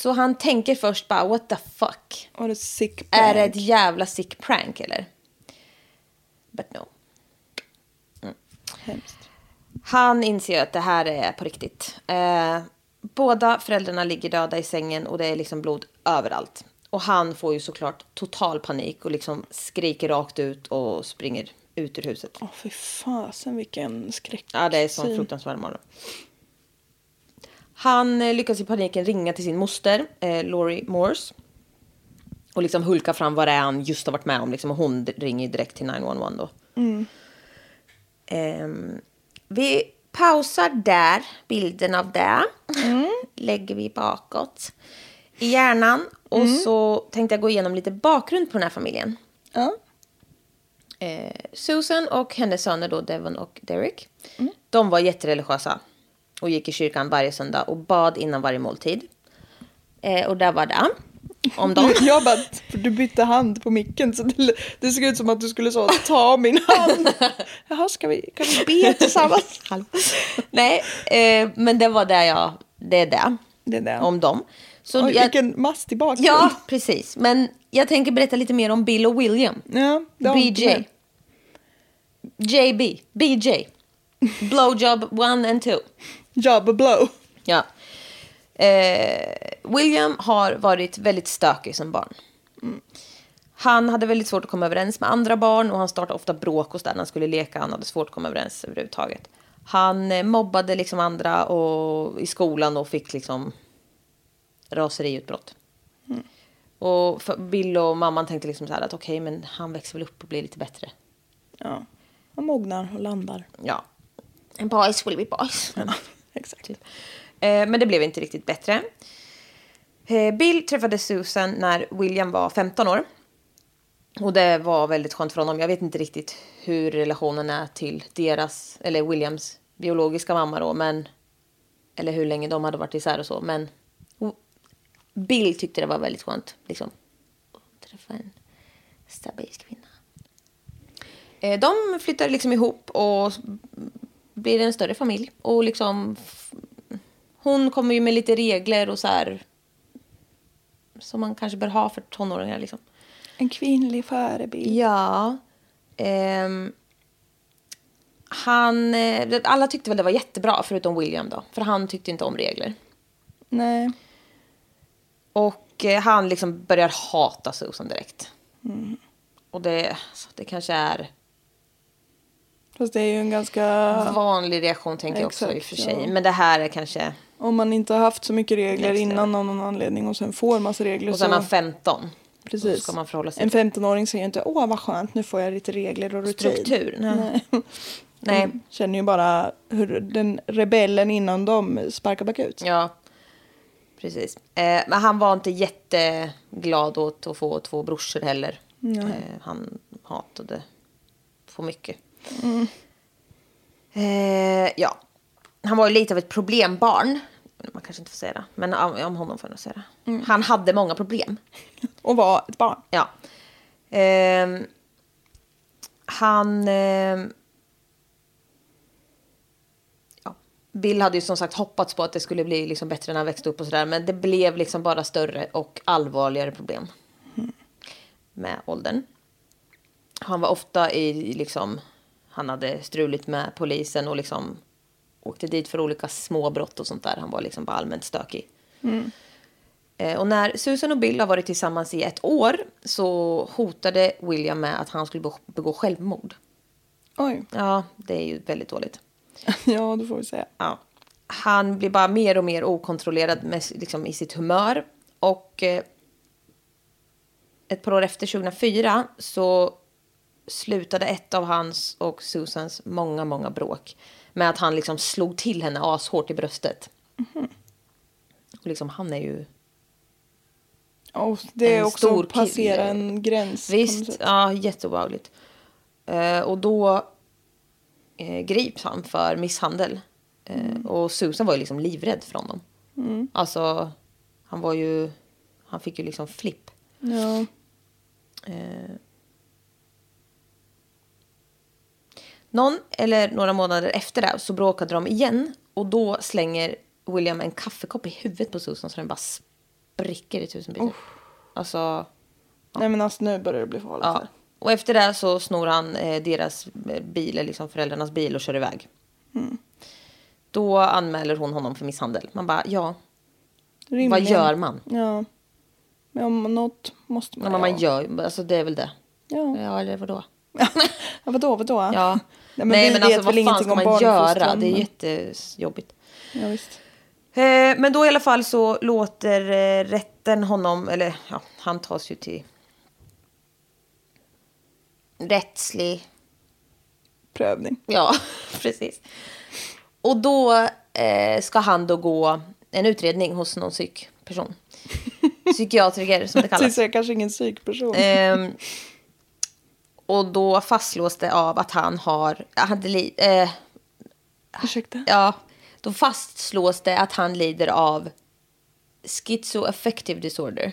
[SPEAKER 1] Så han tänker först bara, what the fuck?
[SPEAKER 2] Var det sick
[SPEAKER 1] Är
[SPEAKER 2] prank?
[SPEAKER 1] det ett jävla sick prank eller? But no.
[SPEAKER 2] Hemskt.
[SPEAKER 1] Han inser att det här är på riktigt. Eh, båda föräldrarna ligger döda i sängen och det är liksom blod överallt. Och han får ju såklart total panik och liksom skriker rakt ut och springer ut ur huset.
[SPEAKER 2] Åh, fy fasen vilken skräck.
[SPEAKER 1] Ja, det är sån fruktansvärd morgon. Han eh, lyckas i paniken ringa till sin moster, eh, Laurie Morse. Och liksom hulka fram vad det är han just har varit med om. Liksom, och hon d- ringer ju direkt till 911 då. Ehm, vi pausar där, bilden av det. Mm. [LAUGHS] Lägger vi bakåt i hjärnan. Och så tänkte jag gå igenom lite bakgrund på den här familjen.
[SPEAKER 2] Ja.
[SPEAKER 1] Eh, Susan och hennes söner då, Devon och Derek.
[SPEAKER 2] Mm.
[SPEAKER 1] De var jättereligiösa och gick i kyrkan varje söndag och bad innan varje måltid. Eh, och där var det. Om
[SPEAKER 2] [LAUGHS]
[SPEAKER 1] dem.
[SPEAKER 2] Du, jag bara, för du bytte hand på micken så det, det såg ut som att du skulle så ta min
[SPEAKER 1] [LAUGHS]
[SPEAKER 2] hand. Jaha, ska vi, kan vi be tillsammans?
[SPEAKER 1] Hallå. Nej, eh, men det var där jag... Det är det.
[SPEAKER 2] Det är det.
[SPEAKER 1] Om dem. Så
[SPEAKER 2] Oj,
[SPEAKER 1] jag,
[SPEAKER 2] vilken mastig bakgrund.
[SPEAKER 1] Ja, precis. Men jag tänker berätta lite mer om Bill och William.
[SPEAKER 2] Ja, det har inte
[SPEAKER 1] BJ.
[SPEAKER 2] med.
[SPEAKER 1] JB.
[SPEAKER 2] [LAUGHS]
[SPEAKER 1] BJ. Blowjob one and two.
[SPEAKER 2] Job a blow.
[SPEAKER 1] Ja. Eh, William har varit väldigt stökig som barn. Mm. Han hade väldigt svårt att komma överens med andra barn och han startade ofta bråk hos där när han skulle leka. Han hade svårt att komma överens överhuvudtaget. Han eh, mobbade liksom andra och, i skolan och fick liksom raseriutbrott. Och för- Bill och mamman tänkte liksom så här att okej, men han växer väl upp och blir lite bättre.
[SPEAKER 2] Ja. Han mognar och landar.
[SPEAKER 1] Ja. And boys will be boys.
[SPEAKER 2] Exakt.
[SPEAKER 1] Typ. Eh, men det blev inte riktigt bättre. Eh, Bill träffade Susan när William var 15 år. Och det var väldigt skönt för honom. Jag vet inte riktigt hur relationen är till deras, eller Williams biologiska mamma då, men... Eller hur länge de hade varit isär och så, men... o- Bill tyckte det var väldigt skönt, liksom. Att träffa en stabil kvinna. Eh, De flyttar liksom ihop och blir en större familj. Och liksom, f- hon kommer ju med lite regler och så här. Som man kanske bör ha för tonåringar liksom.
[SPEAKER 2] En kvinnlig förebild.
[SPEAKER 1] Ja. Ehm, han, eh, alla tyckte väl det var jättebra förutom William då. För han tyckte inte om regler.
[SPEAKER 2] Nej.
[SPEAKER 1] Och eh, han liksom börjar hata Susan direkt.
[SPEAKER 2] Mm.
[SPEAKER 1] Och det, så det kanske är
[SPEAKER 2] Fast det är ju en ganska...
[SPEAKER 1] en vanlig reaktion tänker jag också i och
[SPEAKER 2] Exakt,
[SPEAKER 1] för sig.
[SPEAKER 2] ja.
[SPEAKER 1] Men det här är kanske...
[SPEAKER 2] Om man inte har haft så mycket regler
[SPEAKER 1] Exakt.
[SPEAKER 2] innan av någon anledning och sen får massa regler
[SPEAKER 1] Och sen är man 15.
[SPEAKER 2] Precis.
[SPEAKER 1] Då ska man förhålla sig
[SPEAKER 2] En
[SPEAKER 1] till
[SPEAKER 2] 15-åring säger inte åh vad skönt nu får jag lite regler och rutin. [LAUGHS]
[SPEAKER 1] struktur. Nej.
[SPEAKER 2] Nej.
[SPEAKER 1] Nej.
[SPEAKER 2] De Känner ju bara hur den rebellen innan dem sparkar bakut.
[SPEAKER 1] Ja, precis. Eh, men han var inte jätteglad åt att få två brorsor heller.
[SPEAKER 2] Nej.
[SPEAKER 1] Eh, han hatade för mycket. Eh, ja, han var ju lite av ett problembarn. Man kanske inte får säga det, men om, om honom får jag nog säga det. Han hade många problem.
[SPEAKER 2] Och var ett barn.
[SPEAKER 1] Ja. Ehm, han... ehm, ja. Bill hade ju som sagt hoppats på att det skulle bli liksom bättre när han växte upp och sådär. Men det blev liksom bara större och allvarligare problem. Med åldern. Han var ofta i liksom... Han hade struligt med polisen och liksom åkte dit för olika småbrott och sånt där. Han var liksom bara allmänt stökig. Eh, Och när Susan och Bill har varit tillsammans i ett år så hotade William med att han skulle be- begå självmord.
[SPEAKER 2] Oj. [LAUGHS]
[SPEAKER 1] Ja, det är ju väldigt dåligt.
[SPEAKER 2] Ja, då får vi säga.
[SPEAKER 1] Ja. Han blir bara mer och mer okontrollerad med, liksom, i sitt humör. Och eh, ett par år efter, 2004, så slutade ett av hans och Susans många, många bråk med att han liksom slog till henne ashårt i bröstet. Och liksom, han är ju...
[SPEAKER 2] Och det är
[SPEAKER 1] En
[SPEAKER 2] också
[SPEAKER 1] stor
[SPEAKER 2] att passera
[SPEAKER 1] kille.
[SPEAKER 2] en gräns. på något
[SPEAKER 1] Visst,
[SPEAKER 2] sätt.
[SPEAKER 1] ja, jätteobehagligt. Eh, och då eh, grips han för misshandel. Eh, Och Susan var ju liksom livrädd för honom. Alltså, han var ju... Han fick ju liksom flipp.
[SPEAKER 2] Ja.
[SPEAKER 1] Någon eller några månader efter det så bråkade de igen. Och då slänger William en kaffekopp i huvudet på Susan så den bara spricker i tusen bitar. Alltså...
[SPEAKER 2] Nej men alltså nu börjar det bli farligt.
[SPEAKER 1] Ja.
[SPEAKER 2] här.
[SPEAKER 1] Och
[SPEAKER 2] Mm.
[SPEAKER 1] efter det så snor han eh, deras eh, bil, eller liksom föräldrarnas bil och kör iväg. Då anmäler hon honom för misshandel. Man bara, ja,
[SPEAKER 2] Rimligen.
[SPEAKER 1] vad gör man?
[SPEAKER 2] Ja. Men om något måste
[SPEAKER 1] Ja,
[SPEAKER 2] man
[SPEAKER 1] men man gör ju- alltså det är väl det.
[SPEAKER 2] Ja.
[SPEAKER 1] Ja, eller vadå?
[SPEAKER 2] Ja, vadå, vadå?
[SPEAKER 1] Ja. alltså,
[SPEAKER 2] Nej, men vi vet väl ingenting om barnuppfostran,
[SPEAKER 1] Det är
[SPEAKER 2] men-
[SPEAKER 1] jättejobbigt.
[SPEAKER 2] Ja, visst.
[SPEAKER 1] Eh, men då i alla fall så låter eh, rätten honom, eller ja, han tas ju till rättslig
[SPEAKER 2] Prövning.
[SPEAKER 1] Ja, [LAUGHS] precis. Och då eh, ska han då gå en utredning hos någon psykperson. Psykiatriker som det kallas.
[SPEAKER 2] Tills jag kanske ingen psykperson.
[SPEAKER 1] Ehm, och då fastslås det av att han har... Han, li- eh,
[SPEAKER 2] Ursäkta?
[SPEAKER 1] ja, då fastslås det att han lider av schizoaffective disorder.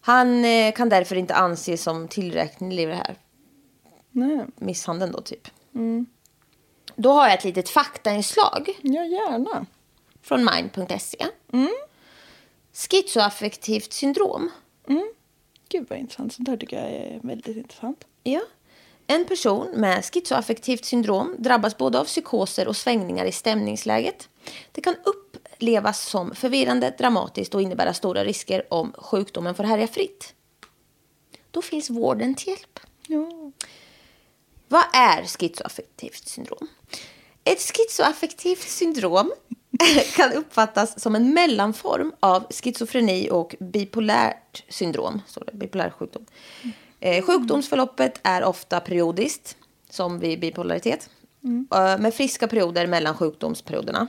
[SPEAKER 1] Han eh, kan därför inte anses som tillräknelig i det här
[SPEAKER 2] Nej.
[SPEAKER 1] misshandeln då typ. Då har jag ett litet faktainslag.
[SPEAKER 2] Ja, gärna.
[SPEAKER 1] från mind.se. Schizoaffektivt syndrom.
[SPEAKER 2] Gud vad intressant. Sånt här tycker jag är väldigt intressant.
[SPEAKER 1] Ja. En person med schizoaffektivt syndrom drabbas både av psykoser och svängningar i stämningsläget. Det kan upplevas som förvirrande, dramatiskt och innebära stora risker om sjukdomen får härja fritt. Då finns vården till hjälp.
[SPEAKER 2] Ja.
[SPEAKER 1] Vad är schizoaffektivt syndrom? Ett schizoaffektivt syndrom [LAUGHS] kan uppfattas som en mellanform av schizofreni och bipolärt syndrom. Så det, bipolär sjukdom. Eh, sjukdomsförloppet är ofta periodiskt, som vid bipolaritet. Eh, med friska perioder mellan sjukdomsperioderna.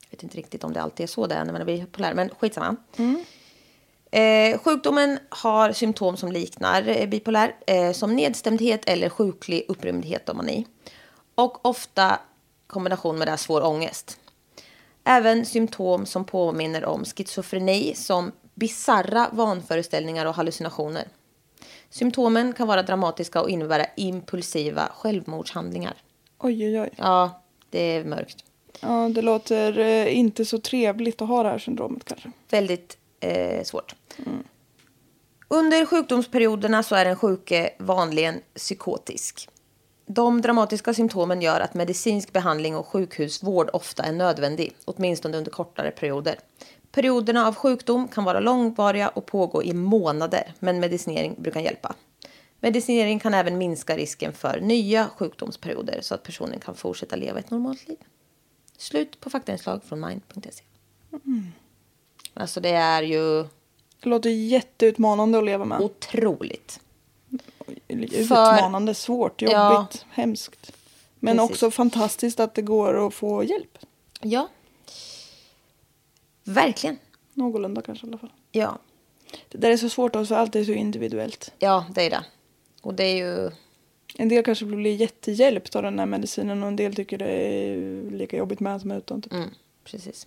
[SPEAKER 1] Jag vet inte riktigt om det alltid är så det är när man är bipolär, men skitsamma. Eh, sjukdomen har symptom som liknar eh, bipolär, eh, som nedstämdhet eller sjuklig upprymdhet och mani. Och ofta i kombination med det här svår ångest. Även symptom som påminner om schizofreni som bizarra vanföreställningar och hallucinationer. Symptomen kan vara dramatiska och innebära impulsiva självmordshandlingar.
[SPEAKER 2] Oj, oj, oj.
[SPEAKER 1] Ja, det är mörkt.
[SPEAKER 2] Ja, det låter eh, inte så trevligt att ha det här syndromet kanske.
[SPEAKER 1] väldigt eh, svårt. Under sjukdomsperioderna så är den sjuke vanligen psykotisk. De dramatiska symptomen gör att medicinsk behandling och sjukhusvård ofta är nödvändig, åtminstone under kortare perioder. Perioderna av sjukdom kan vara långvariga och pågå i månader, men medicinering brukar hjälpa. Medicinering kan även minska risken för nya sjukdomsperioder så att personen kan fortsätta leva ett normalt liv. Slut på faktainslag från mind.se. E. Alltså det är ju
[SPEAKER 2] Det låter jätteutmanande att leva med.
[SPEAKER 1] otroligt. för-
[SPEAKER 2] Utmanande, svårt, jobbigt,
[SPEAKER 1] Ja.
[SPEAKER 2] hemskt. Men
[SPEAKER 1] Precis.
[SPEAKER 2] också fantastiskt att det går att få hjälp.
[SPEAKER 1] Ja. Verkligen.
[SPEAKER 2] Någorlunda kanske i alla fall.
[SPEAKER 1] Ja.
[SPEAKER 2] Det där är så svårt också, för allt är så individuellt.
[SPEAKER 1] ja, det är det. Och det är ju...
[SPEAKER 2] En del kanske blir jättehjälpt av den här medicinen och en del tycker det är lika jobbigt med som utan. Typ.
[SPEAKER 1] Mm, precis.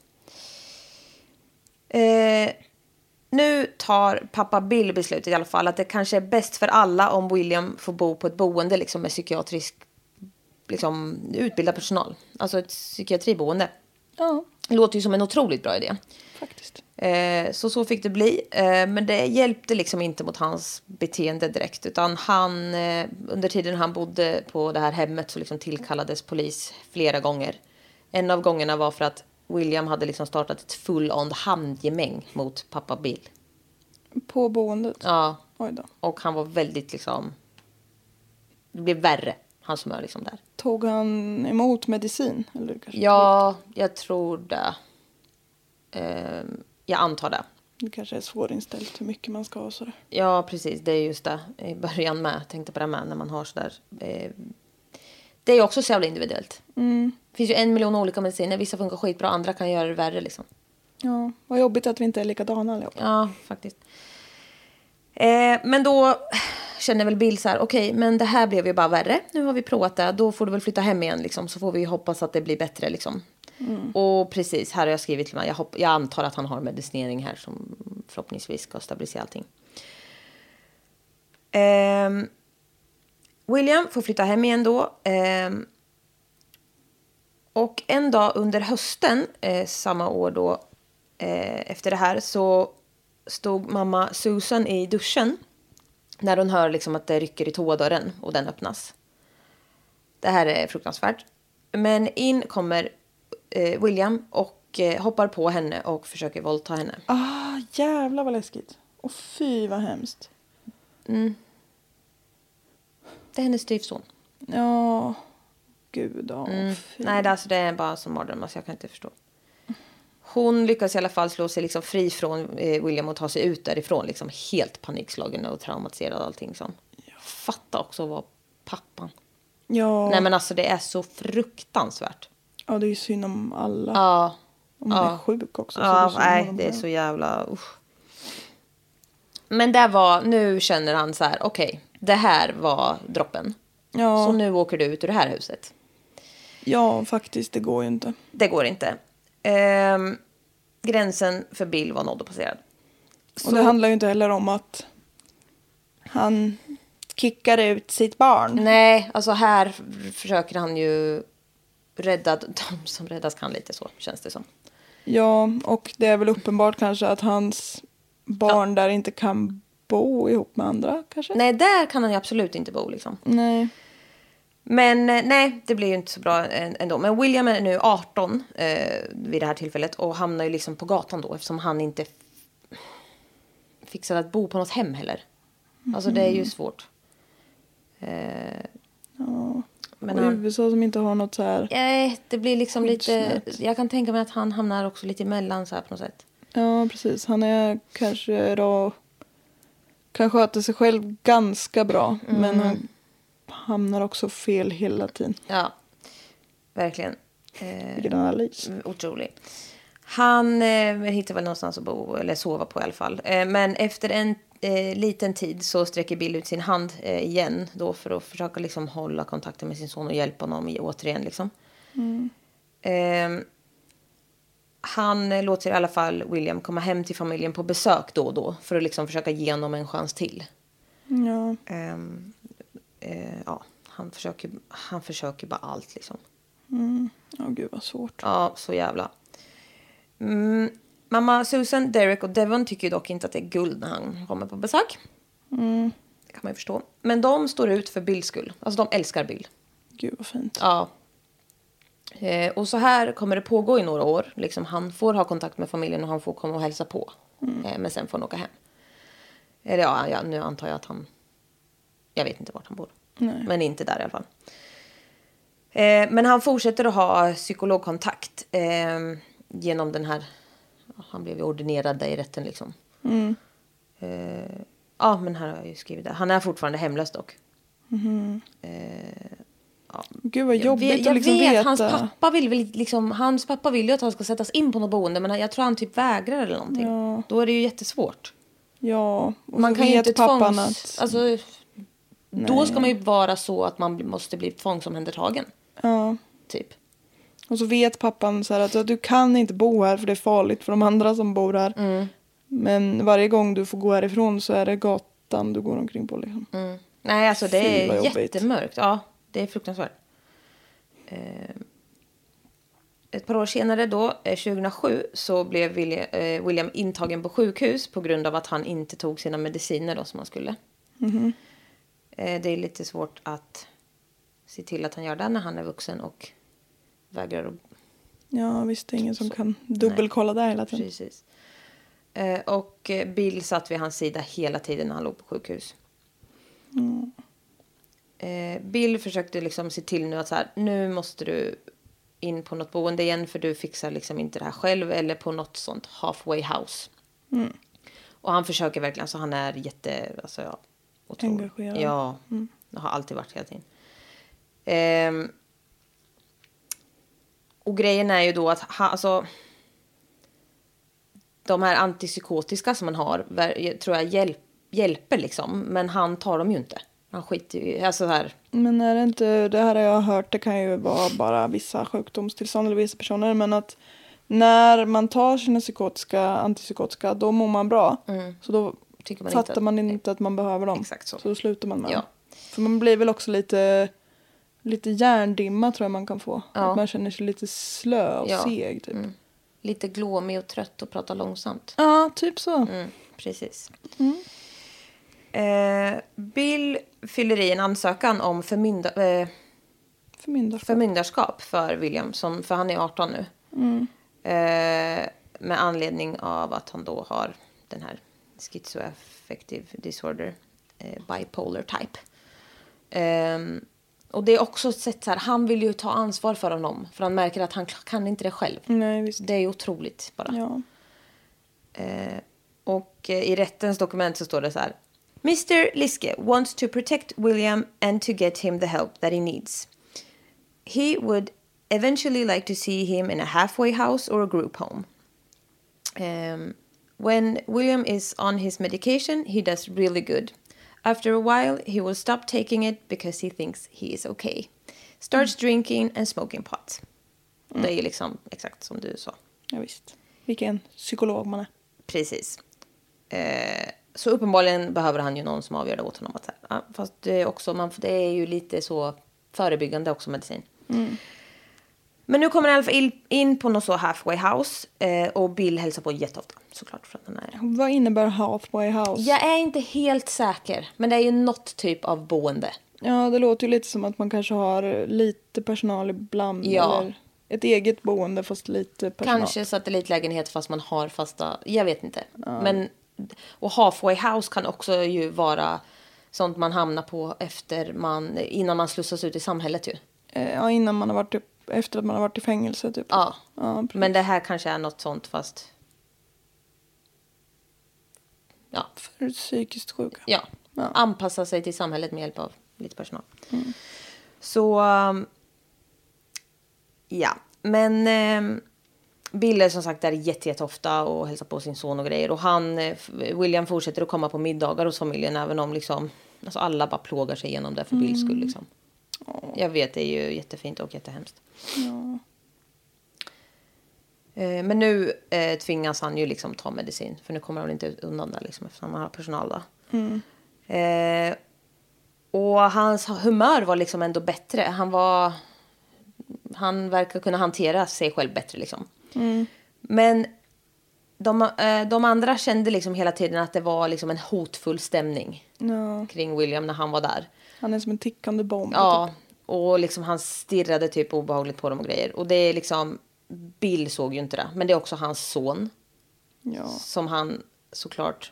[SPEAKER 1] Eh, nu tar pappa Bill beslutet i alla fall att det kanske är bäst för alla om William får bo på ett boende liksom, med psykiatrisk liksom, utbildad personal. Alltså ett psykiatriboende.
[SPEAKER 2] Ja,
[SPEAKER 1] Låter ju som en otroligt bra idé.
[SPEAKER 2] faktiskt.
[SPEAKER 1] Eh, så så fick det bli. Eh, men det hjälpte liksom inte mot hans beteende direkt. Utan han, eh, under tiden han bodde på det här hemmet så liksom tillkallades polis flera gånger. En av gångerna var för att William hade liksom startat ett full-on handgemäng mot pappa Bill.
[SPEAKER 2] På boendet?
[SPEAKER 1] Ja,
[SPEAKER 2] Oj då.
[SPEAKER 1] och han var väldigt liksom Det blev värre, hans humör liksom där.
[SPEAKER 2] Tog han emot medicin? Eller kanske
[SPEAKER 1] Ja, jag tror det. Ehm, jag antar det.
[SPEAKER 2] Det kanske är svårinställt hur mycket man ska ha och sådär.
[SPEAKER 1] Ja, precis. Det är just det. I början med. Jag tänkte på det med när man har sådär. Eh, det är också så jävla individuellt.
[SPEAKER 2] Mm.
[SPEAKER 1] Det finns ju en miljon olika mediciner. Vissa funkar skitbra, andra kan göra det värre liksom.
[SPEAKER 2] Ja, vad jobbigt att vi inte är likadana allihopa.
[SPEAKER 1] Ja, faktiskt. Eh, men då känner väl Bill så här, okej, men det här blev ju bara värre. Nu har vi provat det, då får du väl flytta hem igen liksom, så får vi hoppas att det blir bättre liksom. Och precis, här har jag skrivit till mig, jag, hopp, jag antar att han har medicinering här som förhoppningsvis ska stabilisera allting. Ehm, William får flytta hem igen då. Ehm, och en dag under hösten eh, samma år då eh, efter det här så stod mamma Susan i duschen när hon hör liksom att det rycker i toadörren och den öppnas. Det här är fruktansvärt. Men in kommer eh, William och eh, hoppar på henne och försöker våldta henne.
[SPEAKER 2] Ah, jävlar vad läskigt. Och fy vad hemskt.
[SPEAKER 1] Det är hennes styvson.
[SPEAKER 2] Ja, gud. ja, fy.
[SPEAKER 1] Nej, det, alltså, det är bara som mardröm. Alltså, jag kan inte förstå. Hon lyckas i alla fall slå sig liksom fri från eh, William och ta sig ut därifrån. Liksom helt panikslagen och traumatiserad och allting. Liksom. Fatta också vad pappan.
[SPEAKER 2] Ja,
[SPEAKER 1] Nej men alltså det är så fruktansvärt.
[SPEAKER 2] ja, det är ju synd om alla.
[SPEAKER 1] Ja.
[SPEAKER 2] Om man är sjuk också. så
[SPEAKER 1] Ja,
[SPEAKER 2] synd om
[SPEAKER 1] nej,
[SPEAKER 2] dem
[SPEAKER 1] det är
[SPEAKER 2] själv.
[SPEAKER 1] så jävla... Usch. Men det var, nu känner han så här, okej, det här var droppen.
[SPEAKER 2] Ja.
[SPEAKER 1] Så nu åker du ut ur det här huset.
[SPEAKER 2] ja, faktiskt. Det går ju inte.
[SPEAKER 1] Det går inte. Ehm, gränsen för Bill var nådd och passerad.
[SPEAKER 2] Och det handlar ju inte heller om att han kickar ut sitt barn.
[SPEAKER 1] Nej, alltså här försöker han ju rädda [LAUGHS] de som räddas kan lite så, känns det som.
[SPEAKER 2] Ja, och det är väl uppenbart kanske att hans barn där inte kan bo ihop med andra kanske.
[SPEAKER 1] Nej, där kan han ju absolut inte bo liksom.
[SPEAKER 2] Nej.
[SPEAKER 1] Men eh, nej, det blir ju inte så bra än- ändå. Men William är nu 18 eh, vid det här tillfället och hamnar ju liksom på gatan då eftersom han inte f- fixar att bo på något hem heller. Alltså det är ju svårt. Eh, Men
[SPEAKER 2] och
[SPEAKER 1] han,
[SPEAKER 2] USA som inte har något så här.
[SPEAKER 1] nej, det blir liksom lite...
[SPEAKER 2] Skyddsnät.
[SPEAKER 1] Jag kan tänka mig att han hamnar också lite emellan så här på något sätt.
[SPEAKER 2] Ja, precis. Han är kanske då kan sköta sig själv ganska bra.
[SPEAKER 1] Mm.
[SPEAKER 2] Men han hamnar också fel hela tiden.
[SPEAKER 1] Ja, verkligen. Eh,
[SPEAKER 2] Vilken analys.
[SPEAKER 1] otrolig. Han eh, hittar väl någonstans att bo eller sova på i alla fall. Eh, men efter en eh, liten tid så sträcker Bill ut sin hand eh, igen då för att försöka liksom hålla kontakten med sin son och hjälpa honom i, återigen liksom. Eh, han eh, låter i alla fall William komma hem till familjen på besök då och då för att liksom försöka ge honom en chans till. Mm.
[SPEAKER 2] Ja.
[SPEAKER 1] Ehm, eh, ja, han försöker, han försöker bara allt liksom.
[SPEAKER 2] Ja, gud vad svårt.
[SPEAKER 1] Ja, så jävla. Mm, mamma Susan, Derek och Devon tycker ju dock inte att det är guld när han kommer på besök. Det kan man ju förstå. Men de står ut för Bills skull. Alltså de älskar Bill.
[SPEAKER 2] Gud vad fint.
[SPEAKER 1] Ja. Eh, och så här kommer det pågå i några år. Liksom, han får ha kontakt med familjen och han får komma och hälsa på. Eh, men sen får han åka hem. Eller ja, ja, nu antar jag att han... Jag vet inte vart han bor. Men inte där i alla fall. Eh, men han fortsätter att ha psykologkontakt. Eh, genom den här... Han blev ju ordinerad där i rätten liksom. Eh, ja, men här har jag ju skrivit det. Han är fortfarande hemlös dock.
[SPEAKER 2] Gud vad jobbigt
[SPEAKER 1] jag, jag
[SPEAKER 2] att liksom
[SPEAKER 1] vet,
[SPEAKER 2] veta.
[SPEAKER 1] Hans pappa, vill väl liksom, hans pappa vill ju att han ska sättas in på något boende men jag tror han typ vägrar eller någonting.
[SPEAKER 2] Ja.
[SPEAKER 1] Då är det ju jättesvårt.
[SPEAKER 2] Ja, och
[SPEAKER 1] Man
[SPEAKER 2] så
[SPEAKER 1] kan ju
[SPEAKER 2] vet
[SPEAKER 1] inte
[SPEAKER 2] pappan
[SPEAKER 1] tvångs...
[SPEAKER 2] att...
[SPEAKER 1] Alltså, då ska man ju vara så att man bli- måste bli tvångsomhändertagen.
[SPEAKER 2] Ja.
[SPEAKER 1] Typ.
[SPEAKER 2] Och så vet pappan så här att du kan inte bo här för det är farligt för de andra som bor här.
[SPEAKER 1] Mm.
[SPEAKER 2] Men varje gång du får gå härifrån så är det gatan du går omkring på. Liksom.
[SPEAKER 1] Nej, alltså det
[SPEAKER 2] Fy,
[SPEAKER 1] är
[SPEAKER 2] vad jobbigt.
[SPEAKER 1] jättemörkt. Ja, det är fruktansvärt. Eh, ett par år senare då, eh, 2007, så blev William, eh, William intagen på sjukhus på grund av att han inte tog sina mediciner då som han skulle. Eh, det är lite svårt att se till att han gör det när han är vuxen och vägrar att
[SPEAKER 2] Ja, visst det är ingen som kan dubbelkolla det hela tiden.
[SPEAKER 1] Precis. Eh, och
[SPEAKER 2] Mm.
[SPEAKER 1] eh, Bill satt vid hans sida hela tiden när han låg på sjukhus. Eh, Bill försökte liksom se till nu att så här, nu måste du in på något boende igen för du fixar liksom inte det här själv eller på något sånt halfway house.
[SPEAKER 2] Mm.
[SPEAKER 1] Och han försöker verkligen så han är jätte, alltså ja. otrolig.
[SPEAKER 2] Engagerad. Mm.
[SPEAKER 1] Ja, det har alltid varit hela tiden. Ehm, och grejen är ju då att han, alltså de här antipsykotiska som man har ver- tror jag hjälp, hjälper liksom. Men han tar dem ju inte. Han skiter ju alltså här.
[SPEAKER 2] Men är det inte, det här har jag hört, det kan ju vara bara vissa sjukdomstillstånd eller vissa personer, men att när man tar sina psykotiska, antipsykotiska, då mår man bra. Så då
[SPEAKER 1] Mm. Tycker man
[SPEAKER 2] fattar
[SPEAKER 1] inte att-
[SPEAKER 2] man inte att man behöver dem.
[SPEAKER 1] Exakt så.
[SPEAKER 2] då slutar man med
[SPEAKER 1] Ja.
[SPEAKER 2] dem. För man blir väl också lite, lite hjärndimma tror jag man kan få.
[SPEAKER 1] Ja.
[SPEAKER 2] Att man känner sig lite slö och
[SPEAKER 1] Ja. Mm.
[SPEAKER 2] seg typ.
[SPEAKER 1] Lite glåmig och trött och pratar långsamt.
[SPEAKER 2] Ja, typ så.
[SPEAKER 1] Mm, precis. Eh, Bill fyller i en ansökan om förmynda, eh,
[SPEAKER 2] Förmyndarskap.
[SPEAKER 1] förmyndarskap för William, som, för han är 18 nu. Eh, med anledning av att han då har den här schizoaffective disorder, eh, bipolar type. Ehm, och det är också ett sätt så här, han vill ju ta ansvar för honom, för han märker att han kan inte det själv.
[SPEAKER 2] Nej, visst.
[SPEAKER 1] Det är ju otroligt bara.
[SPEAKER 2] Mm. Ja.
[SPEAKER 1] Eh, och eh, i rättens dokument så står det så här. Mr Liske wants to protect William and to get him the help that he needs. He would eventually like to see him in a halfway house or a group home. Um, when William is on his medication, he does really good. After a while, he will stop taking it because he thinks he is okay. Starts drinking and smoking pot. Det är ju liksom exakt som du sa.
[SPEAKER 2] ja, visst. Vilken psykolog man är.
[SPEAKER 1] Precis. Eh, så uppenbarligen behöver han ju någon som avgör det åt honom. Att, så här, ja, fast det är, också, man, det är ju lite så förebyggande också medicin. Men nu kommer han i alla fall il- in på något så halfway house. Eh, och Bill hälsar på jätteofta såklart. För att han är.
[SPEAKER 2] Vad innebär halfway house?
[SPEAKER 1] Jag är inte helt säker. Men det är ju något typ av boende.
[SPEAKER 2] Ja, det låter ju lite som att man kanske har lite personal ibland.
[SPEAKER 1] Ja.
[SPEAKER 2] Eller ett eget boende fast lite personal.
[SPEAKER 1] Kanske satellitlägenhet fast man har fasta... Jag vet inte. Men, och halfway house kan också ju vara sånt man hamnar på efter man, innan man slussas ut i samhället ju.
[SPEAKER 2] Eh, Ja, innan man har varit upp, efter att man har varit i fängelse typ.
[SPEAKER 1] Ja.
[SPEAKER 2] ja precis.
[SPEAKER 1] Men det här kanske är något sånt fast... Ja,
[SPEAKER 2] För psykiskt sjuka.
[SPEAKER 1] ja.
[SPEAKER 2] Ja.
[SPEAKER 1] anpassa sig till samhället med hjälp av lite personal. Så... um, Ja, men... ehm, Bill är som sagt där jätte, jätteofta och hälsar på sin son och grejer. Och han, eh, f- William fortsätter att komma på middagar hos familjen även om liksom, alltså alla bara plågar sig igenom det för Bills skull. Liksom. Jag vet, det är ju jättefint och jättehemskt. Eh, Men nu eh, tvingas han ju liksom ta medicin. För nu kommer han inte undan där liksom eftersom han har personal då. Eh, och hans humör var liksom ändå bättre. Han var... Han verkar kunna hantera sig själv bättre liksom. Men de, eh, de andra kände liksom hela tiden att det var liksom en hotfull stämning
[SPEAKER 2] Ja.
[SPEAKER 1] kring William när han var där.
[SPEAKER 2] Han är som en tickande bomb. typ.
[SPEAKER 1] Ja, och liksom han stirrade typ obehagligt på dem och grejer. Och det är liksom, Bill såg ju inte det. Men det är också hans son
[SPEAKER 2] Typ. ja.
[SPEAKER 1] som han såklart,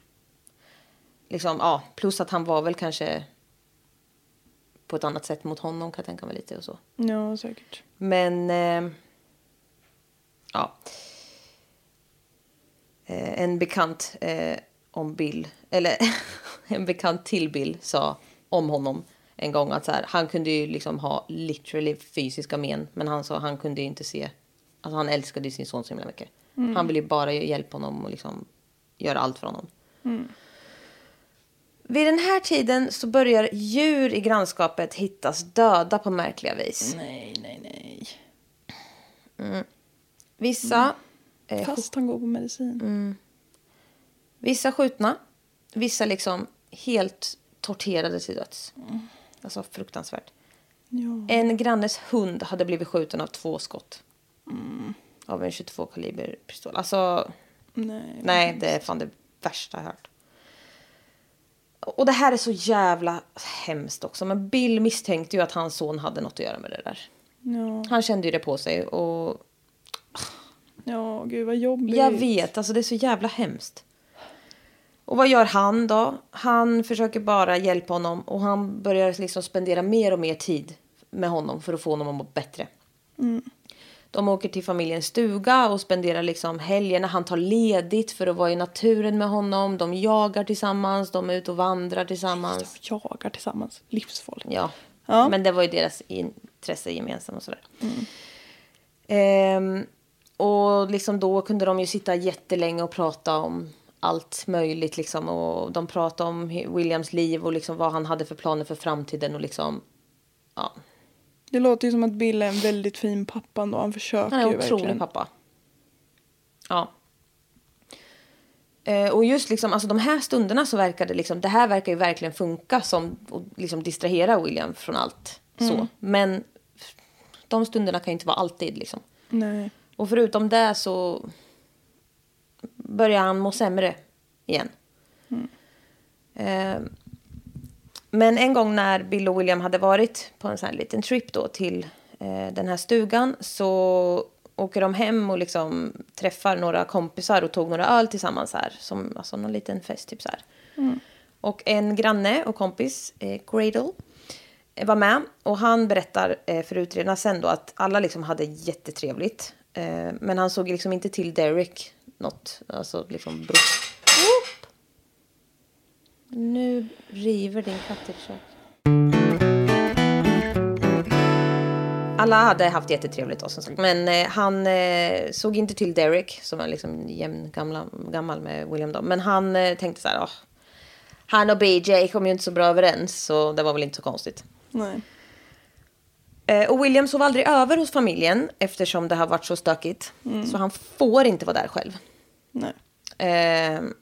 [SPEAKER 1] liksom, ja, plus att han var väl kanske på ett annat sätt mot honom kan jag tänka mig lite och så.
[SPEAKER 2] Ja, säkert.
[SPEAKER 1] Men, eh, ja. Eh, en bekant eh, om Bill, eller [LAUGHS] en bekant till Bill sa om honom en gång att så här, han kunde ju liksom ha literally fysiska men, men han sa han kunde ju inte se, alltså han älskade ju sin son så himla mycket. Han ville ju bara hjälpa honom och liksom göra allt för honom. Vid den här tiden så börjar djur i grannskapet hittas döda på märkliga vis.
[SPEAKER 2] Nej, nej, nej.
[SPEAKER 1] Vissa, eh, skj-
[SPEAKER 2] Mm. Fast han går på medicin.
[SPEAKER 1] Mm. vissa skjutna, vissa liksom helt torterade till döds. Alltså fruktansvärt.
[SPEAKER 2] Ja.
[SPEAKER 1] En grannes hund hade blivit skjuten av två skott. Av en 22 kaliber pistol. Alltså,
[SPEAKER 2] Nej.
[SPEAKER 1] nej, det är fan det värsta jag har hört. Och det här är så jävla hemskt också. Men Bill misstänkte ju att hans son hade något att göra med det där.
[SPEAKER 2] Ja.
[SPEAKER 1] Han kände ju det på sig och
[SPEAKER 2] ja, gud vad jobbigt.
[SPEAKER 1] Jag vet, alltså det är så jävla hemskt. Och vad gör han då? Han försöker bara hjälpa honom och han börjar liksom spendera mer och mer tid med honom för att få honom att må bättre. De åker till familjens stuga och spenderar liksom helgerna. Han tar ledigt för att vara i naturen med honom. De jagar tillsammans, de är ute och vandrar tillsammans.
[SPEAKER 2] Jagar tillsammans. Livsfarligt.
[SPEAKER 1] Ja.
[SPEAKER 2] Ja.
[SPEAKER 1] Men det var ju deras intresse gemensamt och sådär. Ehm, och liksom då kunde de ju sitta jättelänge och prata om allt möjligt liksom. Och de pratade om Hi- Williams liv och liksom vad han hade för planer för framtiden och liksom. Ja,
[SPEAKER 2] Det låter ju som att Bill är en väldigt fin pappa ändå. Han försöker
[SPEAKER 1] han är
[SPEAKER 2] ju
[SPEAKER 1] en otrolig
[SPEAKER 2] verkligen.
[SPEAKER 1] pappa. Ja. Eh, Och just liksom, alltså de här stunderna så verkar det liksom, det här verkar ju verkligen funka som och liksom distrahera William från allt. Så. Men de stunderna kan ju inte vara alltid liksom.
[SPEAKER 2] Nej.
[SPEAKER 1] Och förutom det så börjar han må sämre igen. Eh, men en gång när Bill och William hade varit på en sån här liten trip då till eh, den här stugan så åker de hem och liksom träffar några kompisar och tog några öl tillsammans här. Som, alltså någon liten fest typ så här. Och en granne och kompis, eh, Gradle, eh, var med. Och han berättar eh, för utredarna sen då att alla liksom hade jättetrevligt. Eh, men han såg liksom inte till Derek något. Alltså liksom bro. Nu river din katt i försök. Alla hade haft jättetrevligt då som sagt. Men eh, han eh, såg inte till Derek som var liksom jämn gamla, gammal med William då. Men han eh, tänkte så här, "Ah, han och BJ kom ju inte så bra överens så det var väl inte så konstigt.
[SPEAKER 2] Nej.
[SPEAKER 1] Eh, och William sov aldrig över hos familjen eftersom det har varit så stökigt. Så han får inte vara där själv.
[SPEAKER 2] Nej.
[SPEAKER 1] Ehm,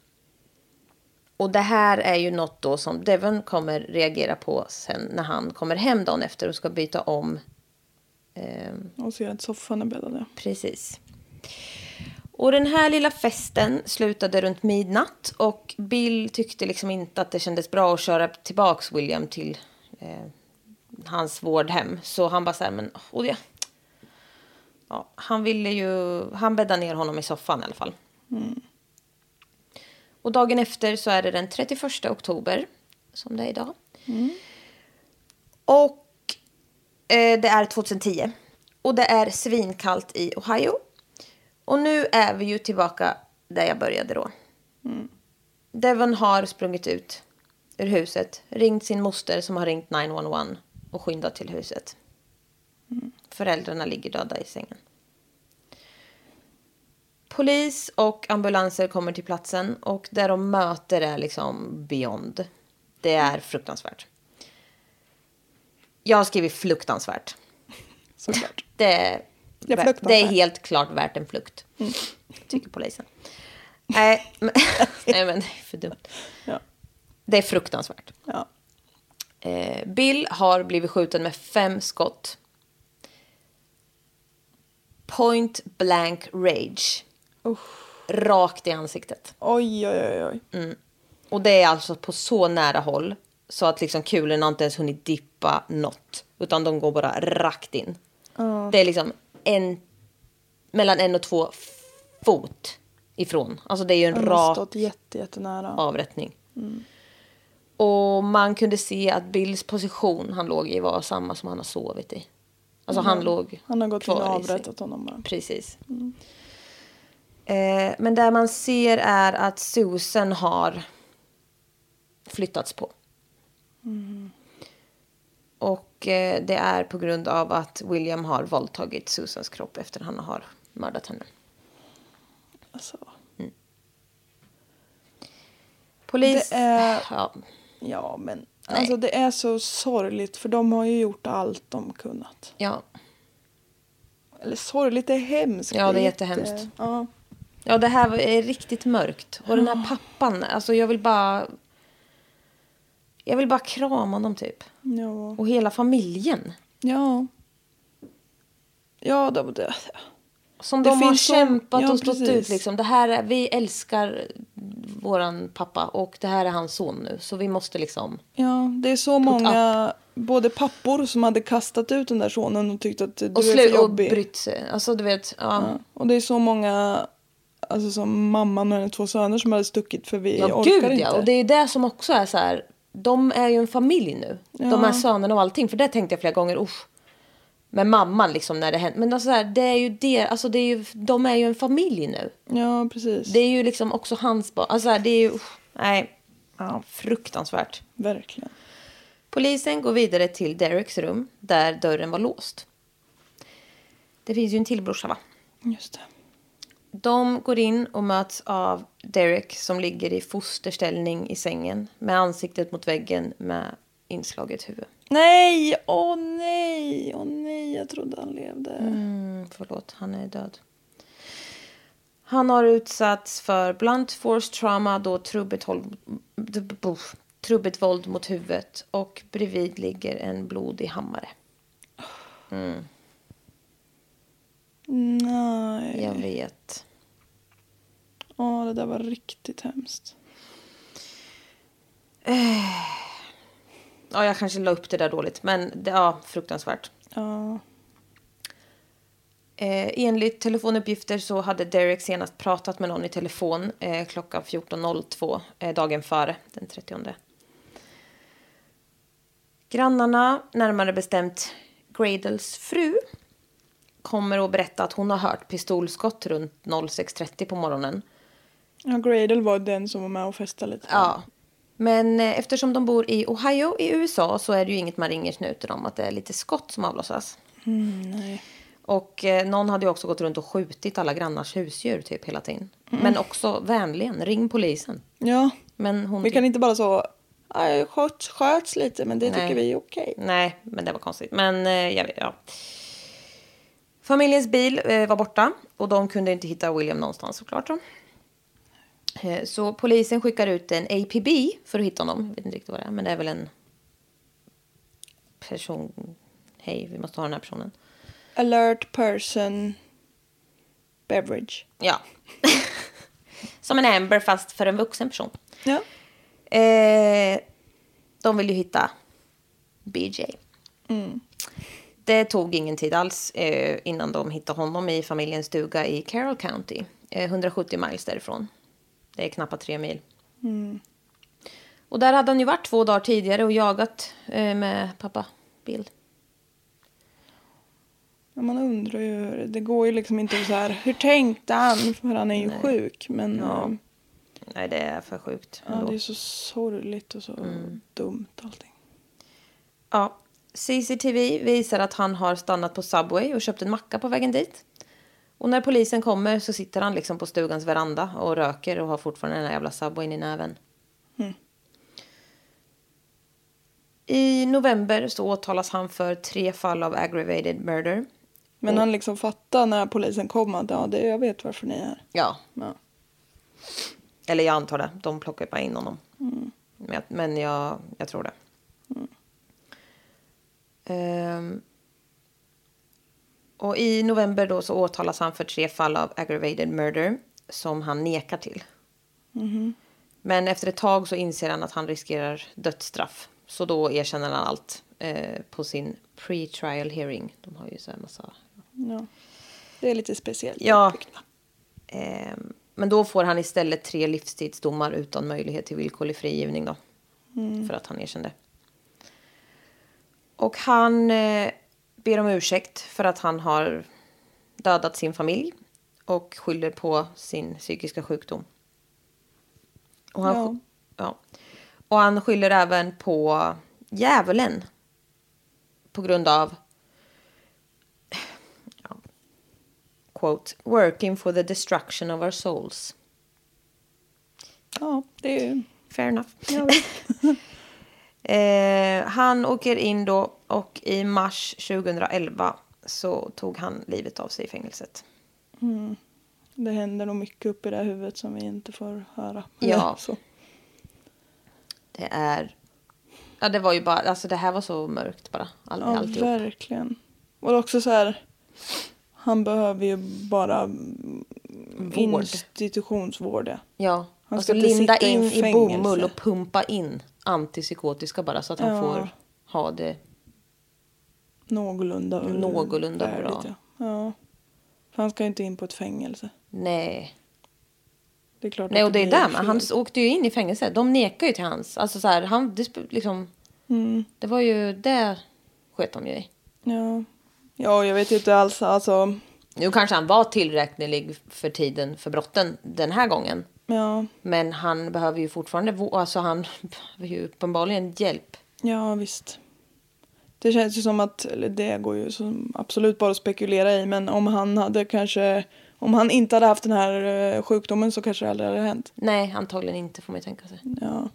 [SPEAKER 1] och det här är ju något då som Devon kommer reagera på sen när han kommer hem dagen efter och ska byta om. Ehm,
[SPEAKER 2] Och så att soffan är bäddad. ja.
[SPEAKER 1] precis. Och den här lilla festen slutade runt midnatt och Bill tyckte liksom inte att det kändes bra att köra tillbaks William till eh, hans vårdhem. Så han bara så här, men oh ja. ja. Han ville ju, han bäddade ner honom i soffan i alla fall. Och dagen efter så är det den 31 oktober som det är idag. Och eh, det är 2010. Och det är svinkallt i Ohio. Och nu är vi ju tillbaka där jag började då. Devon har sprungit ut ur huset, ringt sin moster som har ringt 911 och skyndat till huset. Föräldrarna ligger döda i sängen. Polis och ambulanser kommer till platsen och där de möter är liksom beyond. Det är fruktansvärt. Jag har skrivit fruktansvärt.
[SPEAKER 2] Såklart.
[SPEAKER 1] Det är,
[SPEAKER 2] Ja,
[SPEAKER 1] vä-
[SPEAKER 2] fruktansvärt.
[SPEAKER 1] det är helt klart värt en flukt, tycker polisen. Nej, men, [LAUGHS] nej, men det är för dumt.
[SPEAKER 2] Ja.
[SPEAKER 1] Det är fruktansvärt.
[SPEAKER 2] Ja.
[SPEAKER 1] Eh, Bill har blivit skjuten med fem skott. Point blank rage. Rakt i ansiktet.
[SPEAKER 2] Oj, oj, oj, oj.
[SPEAKER 1] Och det är alltså på så nära håll så att liksom kulorna inte ens hunnit dippa något. Utan de går bara rakt in. Det är liksom en, mellan en och två f- fot ifrån. Alltså det är ju en
[SPEAKER 2] Han har
[SPEAKER 1] rak
[SPEAKER 2] stått jätte, jättenära.
[SPEAKER 1] avrättning. Och man kunde se att Bills position han låg i var samma som han har sovit i. Alltså han låg
[SPEAKER 2] Mm. Han har gått in och
[SPEAKER 1] kvar i
[SPEAKER 2] avrättat
[SPEAKER 1] sig.
[SPEAKER 2] honom bara. Mm.
[SPEAKER 1] Precis. Eh, men där man ser är att Susan har flyttats på.
[SPEAKER 2] Mm.
[SPEAKER 1] Och eh, det är på grund av att William har våldtagit Susans kropp efter han har mördat henne.
[SPEAKER 2] Alltså.
[SPEAKER 1] Polis...
[SPEAKER 2] Det är-
[SPEAKER 1] Ja.
[SPEAKER 2] Ja, men alltså det är så sorgligt för de har ju gjort allt de kunnat.
[SPEAKER 1] ja.
[SPEAKER 2] Eller sorgligt, det är hemskt.
[SPEAKER 1] Ja, det är
[SPEAKER 2] jätte-
[SPEAKER 1] jättehemskt.
[SPEAKER 2] Ja.
[SPEAKER 1] Ja, det här var- är riktigt mörkt. Och den här pappan, alltså jag vill bara... Jag vill bara krama honom typ.
[SPEAKER 2] Ja.
[SPEAKER 1] Och hela familjen.
[SPEAKER 2] Ja. Ja, de, de,
[SPEAKER 1] Som
[SPEAKER 2] Det
[SPEAKER 1] de har
[SPEAKER 2] finns så-
[SPEAKER 1] kämpat
[SPEAKER 2] ja,
[SPEAKER 1] och stått
[SPEAKER 2] precis.
[SPEAKER 1] ut liksom. Det här är, vi älskar våran pappa och det här är hans son nu. Så vi måste liksom...
[SPEAKER 2] ja, det är så många, både pappor som hade kastat ut den där sonen och tyckt att du
[SPEAKER 1] Och
[SPEAKER 2] är för
[SPEAKER 1] slut och
[SPEAKER 2] jobbig.
[SPEAKER 1] brytt sig. Alltså du vet, ja.
[SPEAKER 2] Och det är så många alltså som mamman och hennes två söner som hade stuckit för vi
[SPEAKER 1] Ja,
[SPEAKER 2] orkar
[SPEAKER 1] gud
[SPEAKER 2] inte.
[SPEAKER 1] ja. Och det är ju det som också är så här. De är ju en familj nu. De här sönerna och allting. För det tänkte jag flera gånger. Usch. Med mamman liksom när det hände. Men alltså så här, det är ju det. Alltså det är ju, de är ju en familj nu.
[SPEAKER 2] ja precis.
[SPEAKER 1] Det är ju liksom också hans barn. Alltså så här, det är ju, usch, nej.
[SPEAKER 2] Ja.
[SPEAKER 1] Fruktansvärt.
[SPEAKER 2] Verkligen.
[SPEAKER 1] Polisen går vidare till Dereks rum där dörren var låst. Det finns ju en till brorsa va?
[SPEAKER 2] Just det.
[SPEAKER 1] De går in och möts av Derek som ligger i fosterställning i sängen med ansiktet mot väggen med inslaget huvud.
[SPEAKER 2] Nej, åh nej, åh nej, jag trodde han levde.
[SPEAKER 1] Mm, förlåt, han är död. Han har utsatts för blunt force trauma då trubbigt, håll, buff, trubbigt våld mot huvudet och bredvid ligger en blodig hammare.
[SPEAKER 2] Nej,
[SPEAKER 1] Jag vet.
[SPEAKER 2] åh det där var riktigt hemskt.
[SPEAKER 1] Ja, jag kanske la upp det där dåligt, men det, ja, fruktansvärt.
[SPEAKER 2] Ja,
[SPEAKER 1] Eh, enligt telefonuppgifter så hade Derek senast pratat med någon i telefon eh, klockan 14.02 eh, dagen före den 30. Grannarna, närmare bestämt Gradels fru, kommer att berätta att hon har hört pistolskott runt 06.30 på morgonen.
[SPEAKER 2] ja Gradle var den som var med och festade lite.
[SPEAKER 1] Ja. Men eh, eftersom de bor i Ohio i USA så är det ju inget man ringer snuten om att det är lite skott som avlossas. Och eh, någon hade ju också gått runt och skjutit alla grannars husdjur typ hela tiden.
[SPEAKER 2] Mm.
[SPEAKER 1] Men också vänligen, ring polisen.
[SPEAKER 2] Ja,
[SPEAKER 1] Men hon...
[SPEAKER 2] vi kan inte bara så, "Aj, sköts, sköts lite men det tycker vi är okej.
[SPEAKER 1] Nej, men det var konstigt. Men eh, jag vet, ja. Familjens bil eh, var borta och de kunde inte hitta William någonstans såklart. då. Eh, så polisen skickar ut en APB för att hitta honom. Jag vet inte riktigt vad det är, men det är väl en person... Hej, vi måste ha den här personen.
[SPEAKER 2] Alert person beverage.
[SPEAKER 1] Ja. [LAUGHS] Som en Amber fast för en vuxen person.
[SPEAKER 2] Ja.
[SPEAKER 1] Eh, de vill ju hitta BJ. Mm. Det tog ingen tid alls eh, innan de hittade honom i familjens stuga i Carroll County. Eh, 170 miles därifrån. Det är knappt tre mil. Mm. Och där hade han ju varit två dagar tidigare och jagat eh, med pappa Bill.
[SPEAKER 2] Men man undrar ju, hur- det går ju liksom inte att så här, hur tänkte han? För han är ju sjuk men eh,
[SPEAKER 1] Nej, det är för sjukt.
[SPEAKER 2] ja,
[SPEAKER 1] ändå.
[SPEAKER 2] det är så sorgligt och så
[SPEAKER 1] Mm.
[SPEAKER 2] dumt allting.
[SPEAKER 1] Ja, CCTV visar att han har stannat på Subway och köpt en macka på vägen dit. Och när polisen kommer så sitter han liksom på stugans veranda och röker och har fortfarande den här jävla Subwayn i näven. I november så åtalas han för tre fall av aggravated murder.
[SPEAKER 2] Men han liksom fattar när polisen kom att ja, det, jag vet varför ni är här.
[SPEAKER 1] Ja,
[SPEAKER 2] Ja.
[SPEAKER 1] Eller jag antar det. De plockar ju bara in honom. Men, jag- men jag, jag tror det. Ehm. och i november då så åtalas han för tre fall av aggravated murder som han nekar till. Men efter ett tag så inser han att han riskerar dödsstraff. Så då erkänner han allt eh, på sin pre-trial hearing. De har ju så här massa
[SPEAKER 2] Ja. Det är lite speciellt.
[SPEAKER 1] Ja. Ehm, men då får han istället tre livstidsdomar utan möjlighet till villkorlig frigivning då. För att han erkände. Och han eh, ber om ursäkt för att han har dödat sin familj. Och skyller på sin psykiska sjukdom. Och han, ja. och han skyller även på djävulen. På grund av quote, working for the destruction of our souls.
[SPEAKER 2] Ja, det är ju...
[SPEAKER 1] Fair enough. [LAUGHS] eh, han åker in då och i mars 2011 så tog han livet av sig i fängelset.
[SPEAKER 2] Det händer nog mycket upp i det här huvudet som vi inte får höra.
[SPEAKER 1] Ja.
[SPEAKER 2] [LAUGHS] Så.
[SPEAKER 1] Det är... Ja, det var ju bara... Alltså det här var så mörkt bara. All,
[SPEAKER 2] ja
[SPEAKER 1] alltihop.
[SPEAKER 2] verkligen. Och det är också så här. Han behöver ju bara institutionsvård. ja.
[SPEAKER 1] Ja.
[SPEAKER 2] Han
[SPEAKER 1] alltså
[SPEAKER 2] ska inte
[SPEAKER 1] linda
[SPEAKER 2] sitta i
[SPEAKER 1] in
[SPEAKER 2] en
[SPEAKER 1] i
[SPEAKER 2] fängelse.
[SPEAKER 1] bomull och pumpa in antipsykotiska bara så att han
[SPEAKER 2] Ja.
[SPEAKER 1] får ha det.
[SPEAKER 2] Någorlunda.
[SPEAKER 1] Någorlunda bra.
[SPEAKER 2] värdigt, Ja. ja. För han ska ju inte in på ett fängelse.
[SPEAKER 1] Nej.
[SPEAKER 2] Det är klart
[SPEAKER 1] Nej,
[SPEAKER 2] att
[SPEAKER 1] och det är
[SPEAKER 2] blir
[SPEAKER 1] där man.
[SPEAKER 2] fel.
[SPEAKER 1] Han åkte ju in i fängelse. De nekar ju till hans. Alltså så här, han, det, sp- liksom,
[SPEAKER 2] Mm.
[SPEAKER 1] det var ju det sköt de ju i.
[SPEAKER 2] Ja. ja, jag vet inte alls. Alltså,
[SPEAKER 1] Nu kanske han var tillräknelig för tiden för brotten den här gången.
[SPEAKER 2] ja,
[SPEAKER 1] Men han behöver ju fortfarande, vå- alltså han [LAUGHS] behöver ju uppenbarligen hjälp.
[SPEAKER 2] ja visst. Det känns ju som att, eller det går ju som absolut bara att spekulera i, men om han hade kanske, om han inte hade haft den här eh, sjukdomen så kanske det aldrig hade hänt.
[SPEAKER 1] Nej, antagligen inte får man ju tänka sig.
[SPEAKER 2] Ja,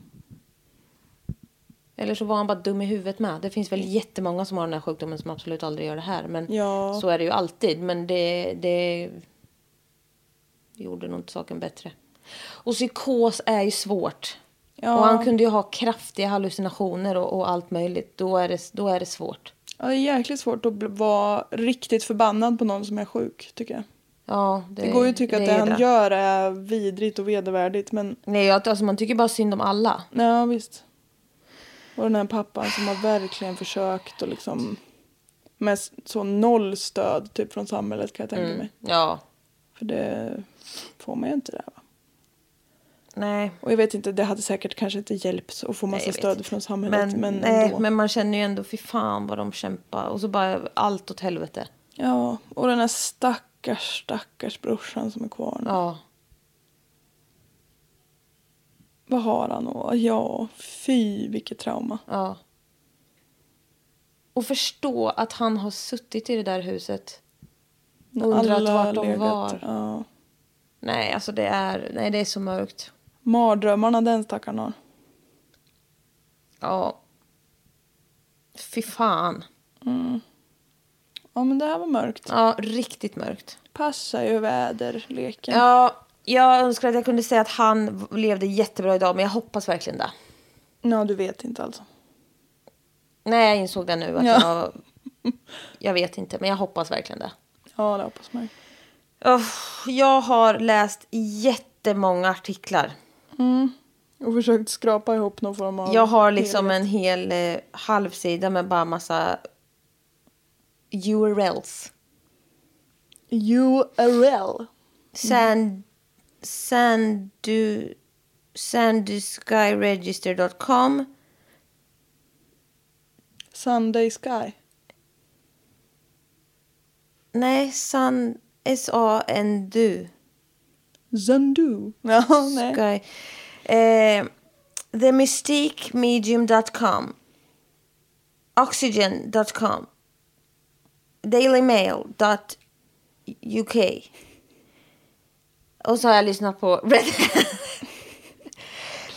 [SPEAKER 1] Eller så var han bara dum i huvudet med. Det finns väl jättemånga som har den här sjukdomen som absolut aldrig gör det här. Men
[SPEAKER 2] Ja.
[SPEAKER 1] så är det ju alltid. Men det, det gjorde nog inte saken bättre. Och psykos är ju svårt.
[SPEAKER 2] Ja.
[SPEAKER 1] Och han kunde ju ha kraftiga hallucinationer och, och allt möjligt. Då är det, då är det svårt.
[SPEAKER 2] ja det är jäkligt svårt att bli- vara riktigt förbannad på någon som är sjuk, tycker jag.
[SPEAKER 1] Ja, det,
[SPEAKER 2] Det går ju att tycka att det
[SPEAKER 1] är
[SPEAKER 2] han gör är vidrigt och vedervärdigt, men
[SPEAKER 1] Nej, jag- alltså, man tycker bara synd om alla.
[SPEAKER 2] Ja, visst. Och den här pappan som har verkligen försökt och liksom med så noll stöd typ från samhället kan jag tänka
[SPEAKER 1] Mm.
[SPEAKER 2] mig.
[SPEAKER 1] Ja.
[SPEAKER 2] För det får man ju inte där va.
[SPEAKER 1] Nej.
[SPEAKER 2] Och jag vet inte, det hade säkert kanske inte hjälpt att få
[SPEAKER 1] Nej,
[SPEAKER 2] massa
[SPEAKER 1] jag vet
[SPEAKER 2] stöd
[SPEAKER 1] inte.
[SPEAKER 2] från samhället. Men,
[SPEAKER 1] nej,
[SPEAKER 2] ändå.
[SPEAKER 1] men man känner ju ändå, fy fan vad de kämpar. Och så bara allt åt helvete.
[SPEAKER 2] Ja, och den här stackars, stackars brorsan som är kvar nu.
[SPEAKER 1] Ja.
[SPEAKER 2] Vad har han och Ja, fy vilket trauma.
[SPEAKER 1] Ja. Och förstå att han har suttit i det där huset. Undrat vart de var.
[SPEAKER 2] Ja.
[SPEAKER 1] Nej, alltså det är, nej, det är så mörkt.
[SPEAKER 2] Mardrömmarna den stackaren har.
[SPEAKER 1] Ja. Fy fan.
[SPEAKER 2] Ja, men det här var mörkt.
[SPEAKER 1] Ja, riktigt mörkt.
[SPEAKER 2] Passar ju väderleken.
[SPEAKER 1] Ja, jag önskar att jag kunde säga att han v- levde jättebra idag, men jag hoppas verkligen det.
[SPEAKER 2] Ja, du vet inte alltså.
[SPEAKER 1] Nej, jag insåg det nu att
[SPEAKER 2] Ja.
[SPEAKER 1] jag... Jag vet inte, men jag hoppas verkligen det.
[SPEAKER 2] Ja, det hoppas man ju.
[SPEAKER 1] Uff, jag har läst jättemånga artiklar.
[SPEAKER 2] Och försökt skrapa ihop någon form av...
[SPEAKER 1] Jag har liksom en
[SPEAKER 2] helhet.
[SPEAKER 1] hel eh, halvsida med bara massa URLs.
[SPEAKER 2] URL.
[SPEAKER 1] Mm. Sand, sandu, sanduskyregister.com.
[SPEAKER 2] Sunday Sky.
[SPEAKER 1] Nej, san, S-A-N-Du.
[SPEAKER 2] Zandu. Ja, nej.
[SPEAKER 1] Sky. Eh, TheMystiqueMedium.com. Oxygen.com. Dailymail.uk. Och så har jag lyssnat på Red,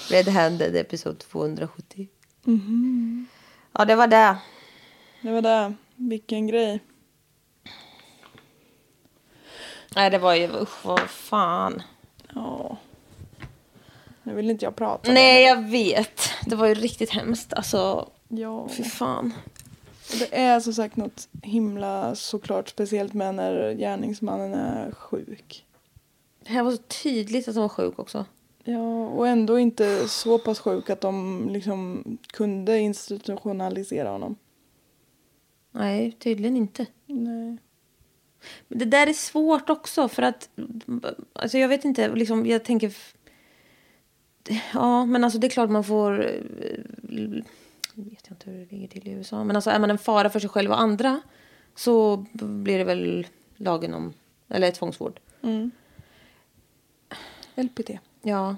[SPEAKER 1] Red Handed episod 270. Mm-hmm. Ja, det var det.
[SPEAKER 2] Det var det. Vilken grej.
[SPEAKER 1] Nej, det var ju... Usch, vad fan.
[SPEAKER 2] Ja. Nu vill inte jag prata. om
[SPEAKER 1] Nej, jag vet. Det var ju riktigt hemskt. Alltså,
[SPEAKER 2] det. Ja.
[SPEAKER 1] fy fan.
[SPEAKER 2] Och Det är som sagt något himla såklart speciellt med när gärningsmannen är sjuk.
[SPEAKER 1] Det här var så tydligt att hon var sjuk också.
[SPEAKER 2] Ja, och ändå inte så pass sjuk att de liksom kunde institutionalisera honom.
[SPEAKER 1] Nej, tydligen inte.
[SPEAKER 2] Nej.
[SPEAKER 1] Men Det där är svårt också för att... Alltså jag vet inte, liksom, jag tänker... f- Ja, men alltså det är klart man får... eh, l- vet jag inte hur det ligger till i USA. Men alltså är man en fara för sig själv och andra så b- blir det väl lagen om... Eller tvångsvård.
[SPEAKER 2] Mm. LPT.
[SPEAKER 1] Ja.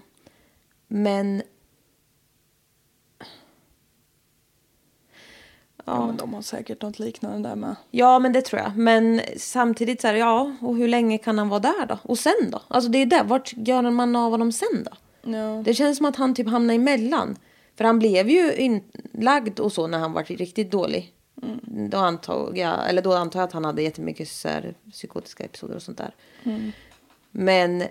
[SPEAKER 1] Men...
[SPEAKER 2] Ja, men de har säkert något liknande där med.
[SPEAKER 1] Ja, men det tror jag. Men samtidigt så här, ja, och hur länge kan han vara där då? Och sen då? Alltså det är där, vart gör man av honom sen då?
[SPEAKER 2] Ja.
[SPEAKER 1] Det känns som att han typ hamnar emellan. För han blev ju inlagd och så när han var riktigt dålig. Då, antog jag, eller då antar jag att han hade jättemycket så här, psykotiska episoder och sånt där. Men...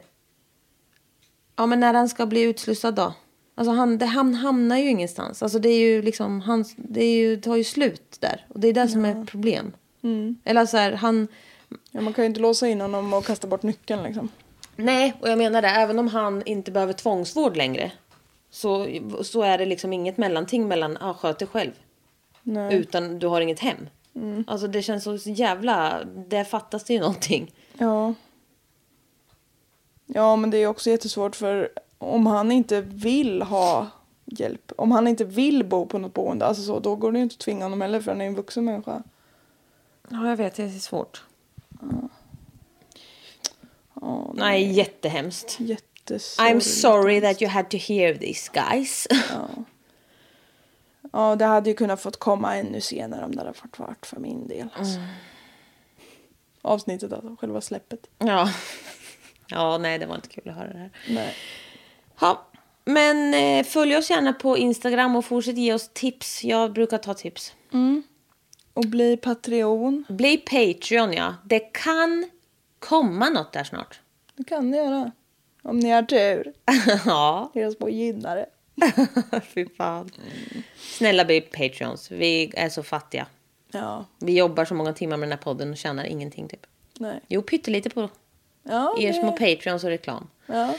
[SPEAKER 1] Ja, men när han ska bli utslussad då? Alltså han, det, han hamnar ju ingenstans. Alltså det är ju liksom, han, det är ju, tar ju slut där. Och det är det som är problem. Eller så här, han...
[SPEAKER 2] Ja, man kan ju inte låsa in honom och kasta bort nyckeln liksom.
[SPEAKER 1] Nej, och jag menar det. Även om han inte behöver tvångsvård längre. Så, så är det liksom inget mellanting mellan ah, sköt dig själv.
[SPEAKER 2] Nej.
[SPEAKER 1] Utan du har inget hem. Alltså det känns så jävla... Det fattas det ju någonting.
[SPEAKER 2] Ja. Ja, men det är också jättesvårt för om han inte vill ha hjälp, om han inte vill bo på något boende, alltså så, då går det ju inte att tvinga honom heller för han är ju en vuxen människa.
[SPEAKER 1] Ja, jag vet. Det är svårt.
[SPEAKER 2] Ja, det
[SPEAKER 1] Nej, jättehemskt.
[SPEAKER 2] är jättesorgligt.
[SPEAKER 1] I'm sorry that you had to hear this, guys. [LAUGHS]
[SPEAKER 2] Ja, det hade ju kunnat fått komma ännu senare om det hade fått varit för min del. Alltså. Avsnittet alltså, själva släppet.
[SPEAKER 1] Ja. Ja, nej, det var inte kul att höra det här.
[SPEAKER 2] Nej.
[SPEAKER 1] Ja, men eh, följ oss gärna på Instagram och fortsätt ge oss tips. Jag brukar ta tips.
[SPEAKER 2] Och bli Patreon,
[SPEAKER 1] Bli Patreon, ja. Det kan komma något där snart. [LAUGHS]
[SPEAKER 2] det kan ni göra. Om ni har tur.
[SPEAKER 1] ja, [LAUGHS]
[SPEAKER 2] Era små gynnare.
[SPEAKER 1] fy fan. Snälla bli Patreons. Vi är så fattiga.
[SPEAKER 2] Ja,
[SPEAKER 1] Vi jobbar så många timmar med den här podden och tjänar ingenting typ.
[SPEAKER 2] nej.
[SPEAKER 1] Jo, pyttelite på
[SPEAKER 2] Ja,
[SPEAKER 1] er
[SPEAKER 2] det-
[SPEAKER 1] små Patreons och reklam.
[SPEAKER 2] ja.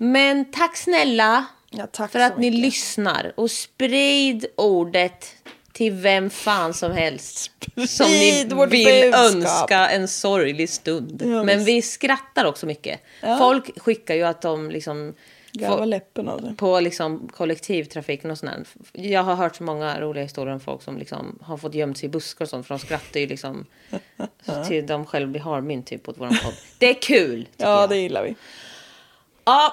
[SPEAKER 1] Men tack snälla
[SPEAKER 2] ja tack
[SPEAKER 1] för
[SPEAKER 2] så
[SPEAKER 1] att ni
[SPEAKER 2] mycket.
[SPEAKER 1] lyssnar och sprid ordet till vem fan som helst som ni
[SPEAKER 2] Sprid vårt
[SPEAKER 1] vill
[SPEAKER 2] budskap.
[SPEAKER 1] önska en sorglig stund.
[SPEAKER 2] Ja,
[SPEAKER 1] Men
[SPEAKER 2] visst.
[SPEAKER 1] vi skrattar också mycket. Folk skickar ju att de liksom
[SPEAKER 2] Garva
[SPEAKER 1] får-
[SPEAKER 2] läppen av det.
[SPEAKER 1] på liksom kollektivtrafiken och sånt där. Jag har hört så många roliga historier om folk som liksom har fått gömt sig i buskar och sånt för de skrattar ju
[SPEAKER 2] [LAUGHS]
[SPEAKER 1] liksom till de själva blir harmynt typ åt våran podd. Det är kul! tycker
[SPEAKER 2] Ja,
[SPEAKER 1] jag.
[SPEAKER 2] det gillar vi.
[SPEAKER 1] Ja,